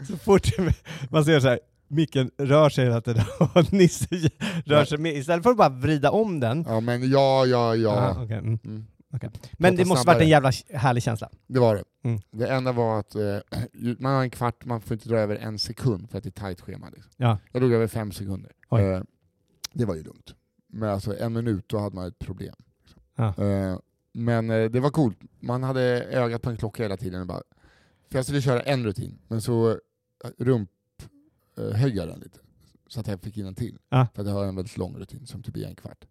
Speaker 4: så fort man ser så här, micken rör sig hela tiden och Nisse rör sig med, istället för att bara vrida om den.
Speaker 3: Ja men ja, ja, ja.
Speaker 4: Aha, okej, mm,
Speaker 3: Mm.
Speaker 4: okej. Men det
Speaker 3: Prata
Speaker 4: måste varit en
Speaker 3: snabbare.
Speaker 4: jävla härlig känsla.
Speaker 3: Det var det.
Speaker 4: Mm.
Speaker 3: Det enda var att eh, man har en kvart, man får inte dra över en sekund för att det är tajt schema. Liksom.
Speaker 4: Ja.
Speaker 3: Jag drog över fem sekunder.
Speaker 4: Oj.
Speaker 3: Eh, det var ju dumt. Men alltså en minut, då hade man ett problem. liksom.
Speaker 4: Ja.
Speaker 3: Eh, men eh, det var coolt. Man hade ögat på en klocka hela tiden. Och bara, för jag skulle köra en rutin, men så eh, rump eh, höjde jag den lite. Så att jag fick in en till.
Speaker 4: Ja.
Speaker 3: För att jag har en väldigt lång rutin som typ är en kvart.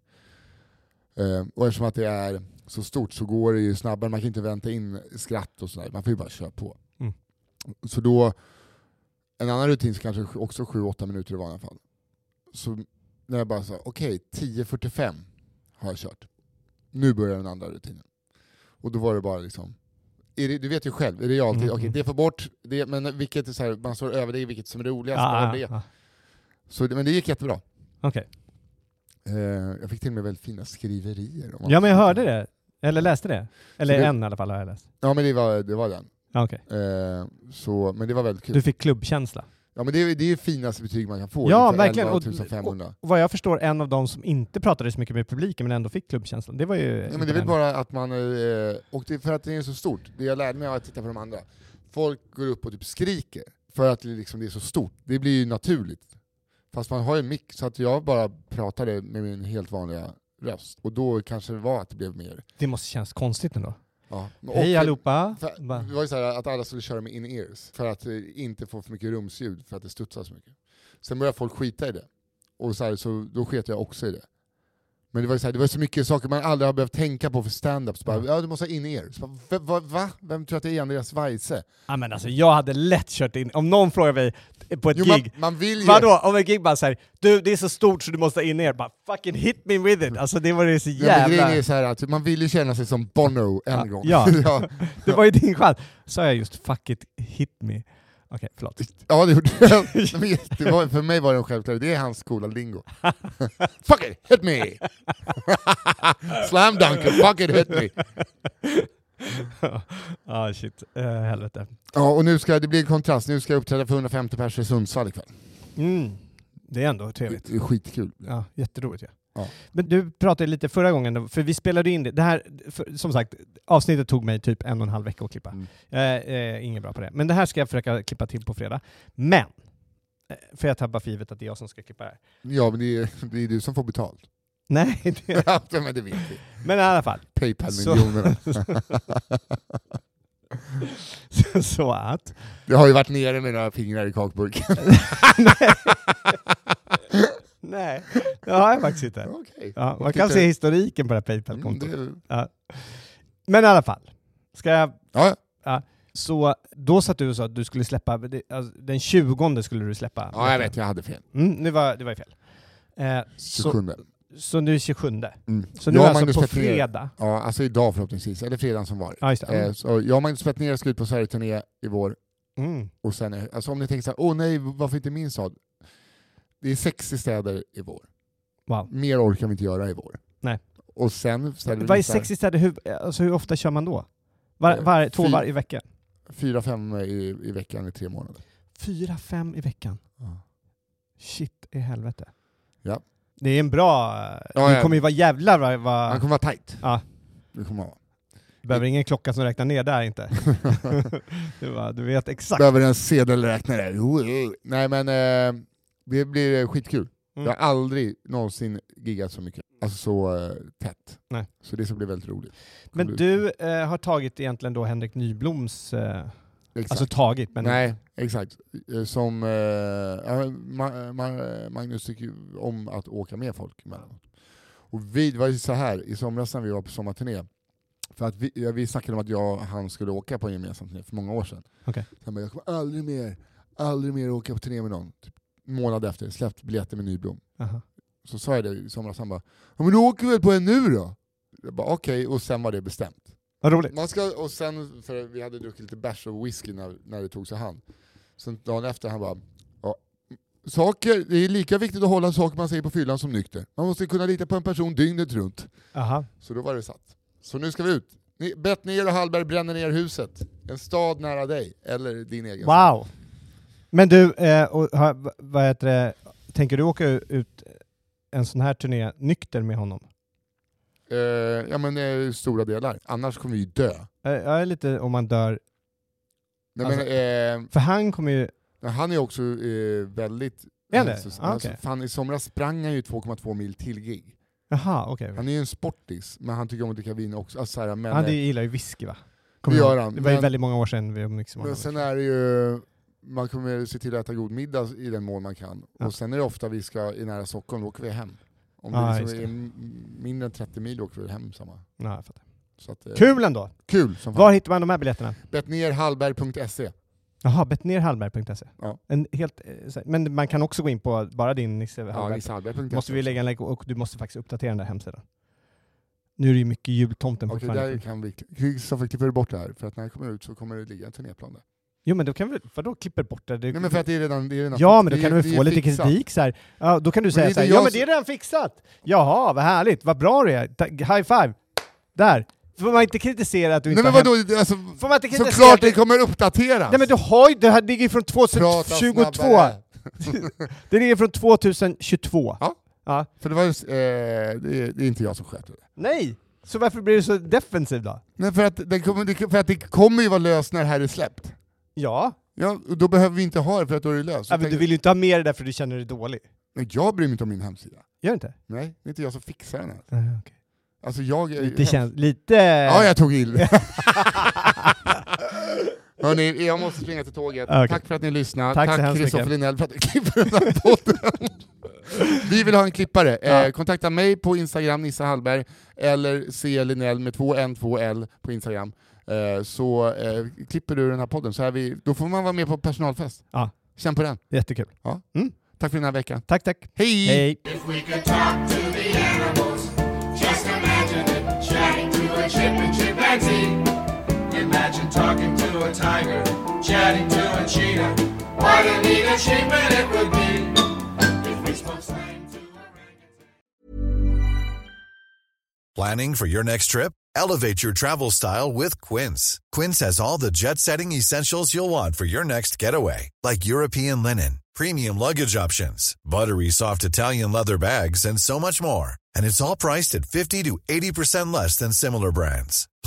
Speaker 3: Eh, och eftersom att det är så stort så går det ju snabbare, man kan inte vänta in skratt och sådär, man får ju bara köra på.
Speaker 4: Mm.
Speaker 3: Så då, en annan rutin så kanske också 7-8 minuter i vanliga fall. Så när jag bara sa okej, 10.45 har jag kört. Nu börjar den andra rutinen. Och då var det bara liksom, är det, du vet ju själv, i realtid,
Speaker 4: Mm.
Speaker 3: okej det får bort, det, men vilket är så här, man står över det, vilket som är roligast,
Speaker 4: Ah,
Speaker 3: ah, det.
Speaker 4: ah,
Speaker 3: Så, det- men det gick jättebra.
Speaker 4: okej.
Speaker 3: Eh, jag fick till och med väldigt fina skriverier. om
Speaker 4: Ja men jag
Speaker 3: allt.
Speaker 4: hörde det, eller läste det. Eller
Speaker 3: Så det-
Speaker 4: en i alla fall har jag läst.
Speaker 3: Ja men det var, det var den.
Speaker 4: Ja, okej.
Speaker 3: Eh, så, men det var väldigt kul.
Speaker 4: Du fick klubbkänsla.
Speaker 3: Ja men det, är- det är ju finaste betyg man kan få.
Speaker 4: Ja,
Speaker 3: inför
Speaker 4: verkligen.
Speaker 3: 11
Speaker 4: Och-
Speaker 3: 500.
Speaker 4: Och vad jag förstår, en av de som inte pratade så mycket med publiken men ändå fick klubbkänslan. Det var ju...
Speaker 3: Ja, men det är väl bara att man, eh, och det är för att det är så stort, det jag lärde mig av att titta på de andra, folk går upp och typ skriker för att det, liksom, det är så stort, det blir ju naturligt. Fast man har ju en mick, så att jag bara pratade med min helt vanliga röst, och då kanske det var att det blev mer...
Speaker 4: Det måste kännas konstigt ändå.
Speaker 3: Ja. Och,
Speaker 4: Hej allihopa!
Speaker 3: För,
Speaker 4: Bara-
Speaker 3: det var ju så här att alla skulle köra med in-ears för att eh, inte få för mycket rumsljud för att det studsar så mycket. Sen började folk skita i det. Och så här, så då sket jag också i det. Men det var ju så, här, det var så mycket saker man aldrig har behövt tänka på för stand-up. Så bara,
Speaker 4: Ja.
Speaker 3: ja du måste ha in-ears. Så bara, "Va- Va, va? Vem tror att det är Andreas Weise?
Speaker 4: Ja, men alltså, jag hade lätt kört in, om någon frågar mig på ett
Speaker 3: Jo, man,
Speaker 4: gig,
Speaker 3: man vill ju...
Speaker 4: vadå? Om ett gig bara såhär, du det är så stort så du måste in er, bara fucking hit me with it! Alltså det var ju så
Speaker 3: Ja, men grejen
Speaker 4: jävla...
Speaker 3: är så här att man vill ju känna sig som Bono en
Speaker 4: Ja,
Speaker 3: gång.
Speaker 4: ja.
Speaker 3: ja,
Speaker 4: Det var ju din chans. Sa jag just fuck it, hit me? Okej, förlåt.
Speaker 3: ja, det gjorde jag. Men det var, för mig var det en självklarhet, det är hans coola lingo. fuck it, hit me! Slam dunk, it, fuck it, hit me!
Speaker 4: ah, shit. Uh, helvete.
Speaker 3: Ja, och nu ska det bli en kontrast. Nu ska jag uppträda för 150 personer i Sundsvall ikväll.
Speaker 4: Mm. Det är ändå trevligt.
Speaker 3: Det är skitkul.
Speaker 4: Ja, jätteroligt ja.
Speaker 3: Ja.
Speaker 4: Men du pratade lite förra gången, då, för vi spelade in det. det här, för, som sagt, avsnittet tog mig typ en och en halv vecka att klippa.
Speaker 3: Mm.
Speaker 4: Eh, eh, ingen bra på det. Men det här ska jag försöka klippa till på fredag. Men, eh, för jag tappar för givet att det är jag som ska klippa det här.
Speaker 3: Ja, men det är, det är du som får betalt.
Speaker 4: Nej, det,
Speaker 3: ja, men det vet vi.
Speaker 4: men i alla fall.
Speaker 3: Paypal-miljonerna.
Speaker 4: Så, så att...
Speaker 3: Jag har ju varit nere med några fingrar i kakburken.
Speaker 4: Nej, det har jag faktiskt inte.
Speaker 3: Okej.
Speaker 4: Ja, man kan se historiken på det här
Speaker 3: Mm,
Speaker 4: Paypal-kontot.
Speaker 3: det-
Speaker 4: Men i alla fall. Ska jag...
Speaker 3: Ja,
Speaker 4: Ja. Så då satt du och sa att du skulle släppa, det- alltså, den 20 skulle du släppa.
Speaker 3: Ja, jag vet, jag hade fel.
Speaker 4: Mm, det, var, det var ju fel. Eh, så,
Speaker 3: 27.
Speaker 4: så nu är det 27.
Speaker 3: Mm.
Speaker 4: Så nu
Speaker 3: Jag och
Speaker 4: alltså
Speaker 3: Magnus
Speaker 4: på
Speaker 3: Petrén-
Speaker 4: fredag.
Speaker 3: Ja, alltså idag förhoppningsvis, eller fredagen som var.
Speaker 4: Ja, just det.
Speaker 3: Eh,
Speaker 4: Mm.
Speaker 3: så jag och Magnus Betnér ska ut på Sverige-turné i vår,
Speaker 4: Mm.
Speaker 3: och sen, är- alltså om ni tänker så här, åh nej, varför inte min stad? Det är 60 städer i vår.
Speaker 4: Wow.
Speaker 3: Mer orkar vi inte göra i vår.
Speaker 4: Nej.
Speaker 3: Och sen ställer
Speaker 4: Vad är
Speaker 3: vi så här
Speaker 4: 60 städer? Hur, alltså, hur ofta kör man då? Var,
Speaker 3: Eh,
Speaker 4: var, två
Speaker 3: fy-
Speaker 4: varje vecka?
Speaker 3: fyra, fem i, i veckan i tre månader.
Speaker 4: Fyra, fem i veckan. Shit i helvete.
Speaker 3: Ja.
Speaker 4: Det är en bra...
Speaker 3: Ja,
Speaker 4: det
Speaker 3: ja.
Speaker 4: kommer ju vara jävlar vad...
Speaker 3: Han
Speaker 4: vad
Speaker 3: kommer vara tight.
Speaker 4: Ja.
Speaker 3: Det kommer han vara.
Speaker 4: behöver ingen klocka som räknar ner där inte. du, bara, du vet exakt.
Speaker 3: Behöver en sedelräknare. Nej men eh, det blir skitkul.
Speaker 4: Mm.
Speaker 3: Jag har aldrig någonsin giggat så mycket. Alltså så eh, tätt.
Speaker 4: Nej.
Speaker 3: Så det ska bli väldigt roligt.
Speaker 4: Men
Speaker 3: Kommer
Speaker 4: du eh, har tagit egentligen då Henrik Nybloms... Eh,
Speaker 3: Exakt.
Speaker 4: alltså tagit, men...
Speaker 3: Nej, exakt. Eh, Som eh, ja, Ma- eh, Ma- Magnus tycker ju om att åka med folk emellanåt. Och vi, det var ju så här i somras när vi var på sommarturné, för att vi, ja, vi snackade om att jag och han skulle åka på en gemensam turné för många år sedan.
Speaker 4: Okej.
Speaker 3: Så Han bara, jag kommer aldrig mer, aldrig mer åka på turné med någon. Typ en månad efter, släppt biljetter med Nyblom.
Speaker 4: Aha.
Speaker 3: Så sa jag det i somras, han bara ja, men då åker vi väl på en nu då? Jag bara okej, och sen var det bestämt.
Speaker 4: Vad roligt.
Speaker 3: Man ska, och sen, för vi hade druckit lite bärs och whisky när, när det tog sig hand. Sen dagen efter han bara, ja, saker, det är lika viktigt att hålla saker man säger på fyllan som nykter. Man måste kunna lita på en person dygnet runt.
Speaker 4: Aha.
Speaker 3: Så då var det satt. Så nu ska vi ut. Ni- Bettner och Hallberg bränner ner huset. En stad nära dig, eller din egen stad.
Speaker 4: Wow! Men du, eh, och, har- v- vad heter det? Tänker du åka ut en sån här turné nykter med honom?
Speaker 3: Eh, ja men eh, stora delar, annars kommer vi ju dö.
Speaker 4: Eh, Jag är lite om man dör...
Speaker 3: Nej,
Speaker 4: Alltså-
Speaker 3: men, eh,
Speaker 4: För han kommer ju...
Speaker 3: Ja, Han är också eh, väldigt...
Speaker 4: Är det?
Speaker 3: hälsos-
Speaker 4: Ah, okej.
Speaker 3: fan, I somras sprang han ju 2,2 mil till gig.
Speaker 4: Jaha, okej.
Speaker 3: Han är ju en sportis, men han tycker om att dricka vin också. Alltså, så här, men,
Speaker 4: Han
Speaker 3: eh,
Speaker 4: gillar ju whisky va?
Speaker 3: Det
Speaker 4: jag
Speaker 3: gör
Speaker 4: ihåg.
Speaker 3: han,
Speaker 4: Det var ju
Speaker 3: men-
Speaker 4: väldigt många år sedan vi umgicks med
Speaker 3: eh, men
Speaker 4: honom.
Speaker 3: sen är det ju... Man kommer se till att äta god middag i den mån man kan.
Speaker 4: Ja.
Speaker 3: Och sen är det ofta vi ska, i nära Stockholm, då åker vi hem. Om det
Speaker 4: Ah, just
Speaker 3: liksom
Speaker 4: det.
Speaker 3: är m- mindre än 30 mil då åker vi hem samma.
Speaker 4: Ja, jag fattar.
Speaker 3: Så att, eh,
Speaker 4: Kul ändå!
Speaker 3: Kul som
Speaker 4: Var
Speaker 3: fan.
Speaker 4: hittar man de här biljetterna?
Speaker 3: Bettnerhallberg.se
Speaker 4: Jaha, bettnerhallberg.se.
Speaker 3: Ja.
Speaker 4: E. En helt, eh, så här- men man kan också gå in på bara din Nisse
Speaker 3: Ja,
Speaker 4: Hallberg.
Speaker 3: nissehallberg.se.
Speaker 4: måste vi lägga en länk och du måste faktiskt uppdatera den där hemsidan. Nu är det ju mycket jultomten
Speaker 3: Okej,
Speaker 4: fortfarande.
Speaker 3: där kan vi... Kristoffer klipper bort det här, för att när jag kommer ut så kommer det ligga en turnéplan där.
Speaker 4: Jo men då kan vi, vadå klipper bort det? det
Speaker 3: Nej men för att det är redan... Det är redan
Speaker 4: ja
Speaker 3: fix-
Speaker 4: men då
Speaker 3: det
Speaker 4: kan
Speaker 3: är-
Speaker 4: du
Speaker 3: det
Speaker 4: väl
Speaker 3: är
Speaker 4: få lite
Speaker 3: fixat.
Speaker 4: kritik så här. Ja, då kan du
Speaker 3: Men det
Speaker 4: säga
Speaker 3: är
Speaker 4: så här,
Speaker 3: inte
Speaker 4: ja
Speaker 3: jag
Speaker 4: men
Speaker 3: som-
Speaker 4: det är redan fixat! Jaha, vad härligt, vad bra du är! Ta- High five! Där! Får man inte kritisera att du inte
Speaker 3: Nej men
Speaker 4: har hem-
Speaker 3: vadå, alltså,
Speaker 4: Får man inte kritisera
Speaker 3: såklart
Speaker 4: att du-
Speaker 3: det kommer uppdateras!
Speaker 4: Nej men du har ju, det här ligger ju från
Speaker 3: Prata
Speaker 4: 2022!
Speaker 3: snabbare.
Speaker 4: Det ligger från 2022.
Speaker 3: Ja.
Speaker 4: ja.
Speaker 3: För det var ju, eh, det, är, det är inte jag som sköter det.
Speaker 4: Nej! Så varför blir du så defensiv då?
Speaker 3: Nej för att, den kommer, det- för att det kommer ju vara löst när det här är släppt.
Speaker 4: Ja,
Speaker 3: Ja, och då behöver vi inte ha det för att då är det löst. Så
Speaker 4: ja men
Speaker 3: tänker-
Speaker 4: du vill ju inte ha med det där för du känner dig dålig.
Speaker 3: Nej, jag bryr mig inte om min hemsida.
Speaker 4: Gör du inte?
Speaker 3: Nej, det är inte jag som fixar den här.
Speaker 4: Uh,
Speaker 3: Alltså jag... är-
Speaker 4: Lite känns... Lite...
Speaker 3: Ja, jag tog illa. Hörni, jag måste springa till tåget.
Speaker 4: Ah, Okej.
Speaker 3: Tack för att ni lyssnade.
Speaker 4: Tack så
Speaker 3: Tack
Speaker 4: hemskt
Speaker 3: Kristoffer
Speaker 4: mycket.
Speaker 3: Linell för att du klipper den här podden. Vi vill ha en klippare. Eh,
Speaker 4: Ja.
Speaker 3: kontakta mig på Instagram, Nissa Hallberg, eller C. Linell med 2 N 2 L på Instagram. Eh, så eh, klipper du den här podden, så är vi, då får man vara med på personalfest.
Speaker 4: Ja.
Speaker 3: Känn på den.
Speaker 4: Jättekul.
Speaker 3: Ja.
Speaker 4: Mm.
Speaker 3: Tack för den här veckan.
Speaker 4: Tack, tack.
Speaker 3: Hej!
Speaker 4: Hej.
Speaker 5: If we could talk to the animals, just imagine it. Chatting to a chip and chimpanzee. Imagine talking to a tiger, chatting to a cheetah. What a neat achievement it would be if we spoke slang to orangutans.
Speaker 6: Planning for your next trip? Elevate your travel style with Quince. Quince has all the jet setting essentials you'll want for your next getaway, like European linen, premium luggage options, buttery soft Italian leather bags, and so much more. And it's all priced at 50 to 80% less than similar brands.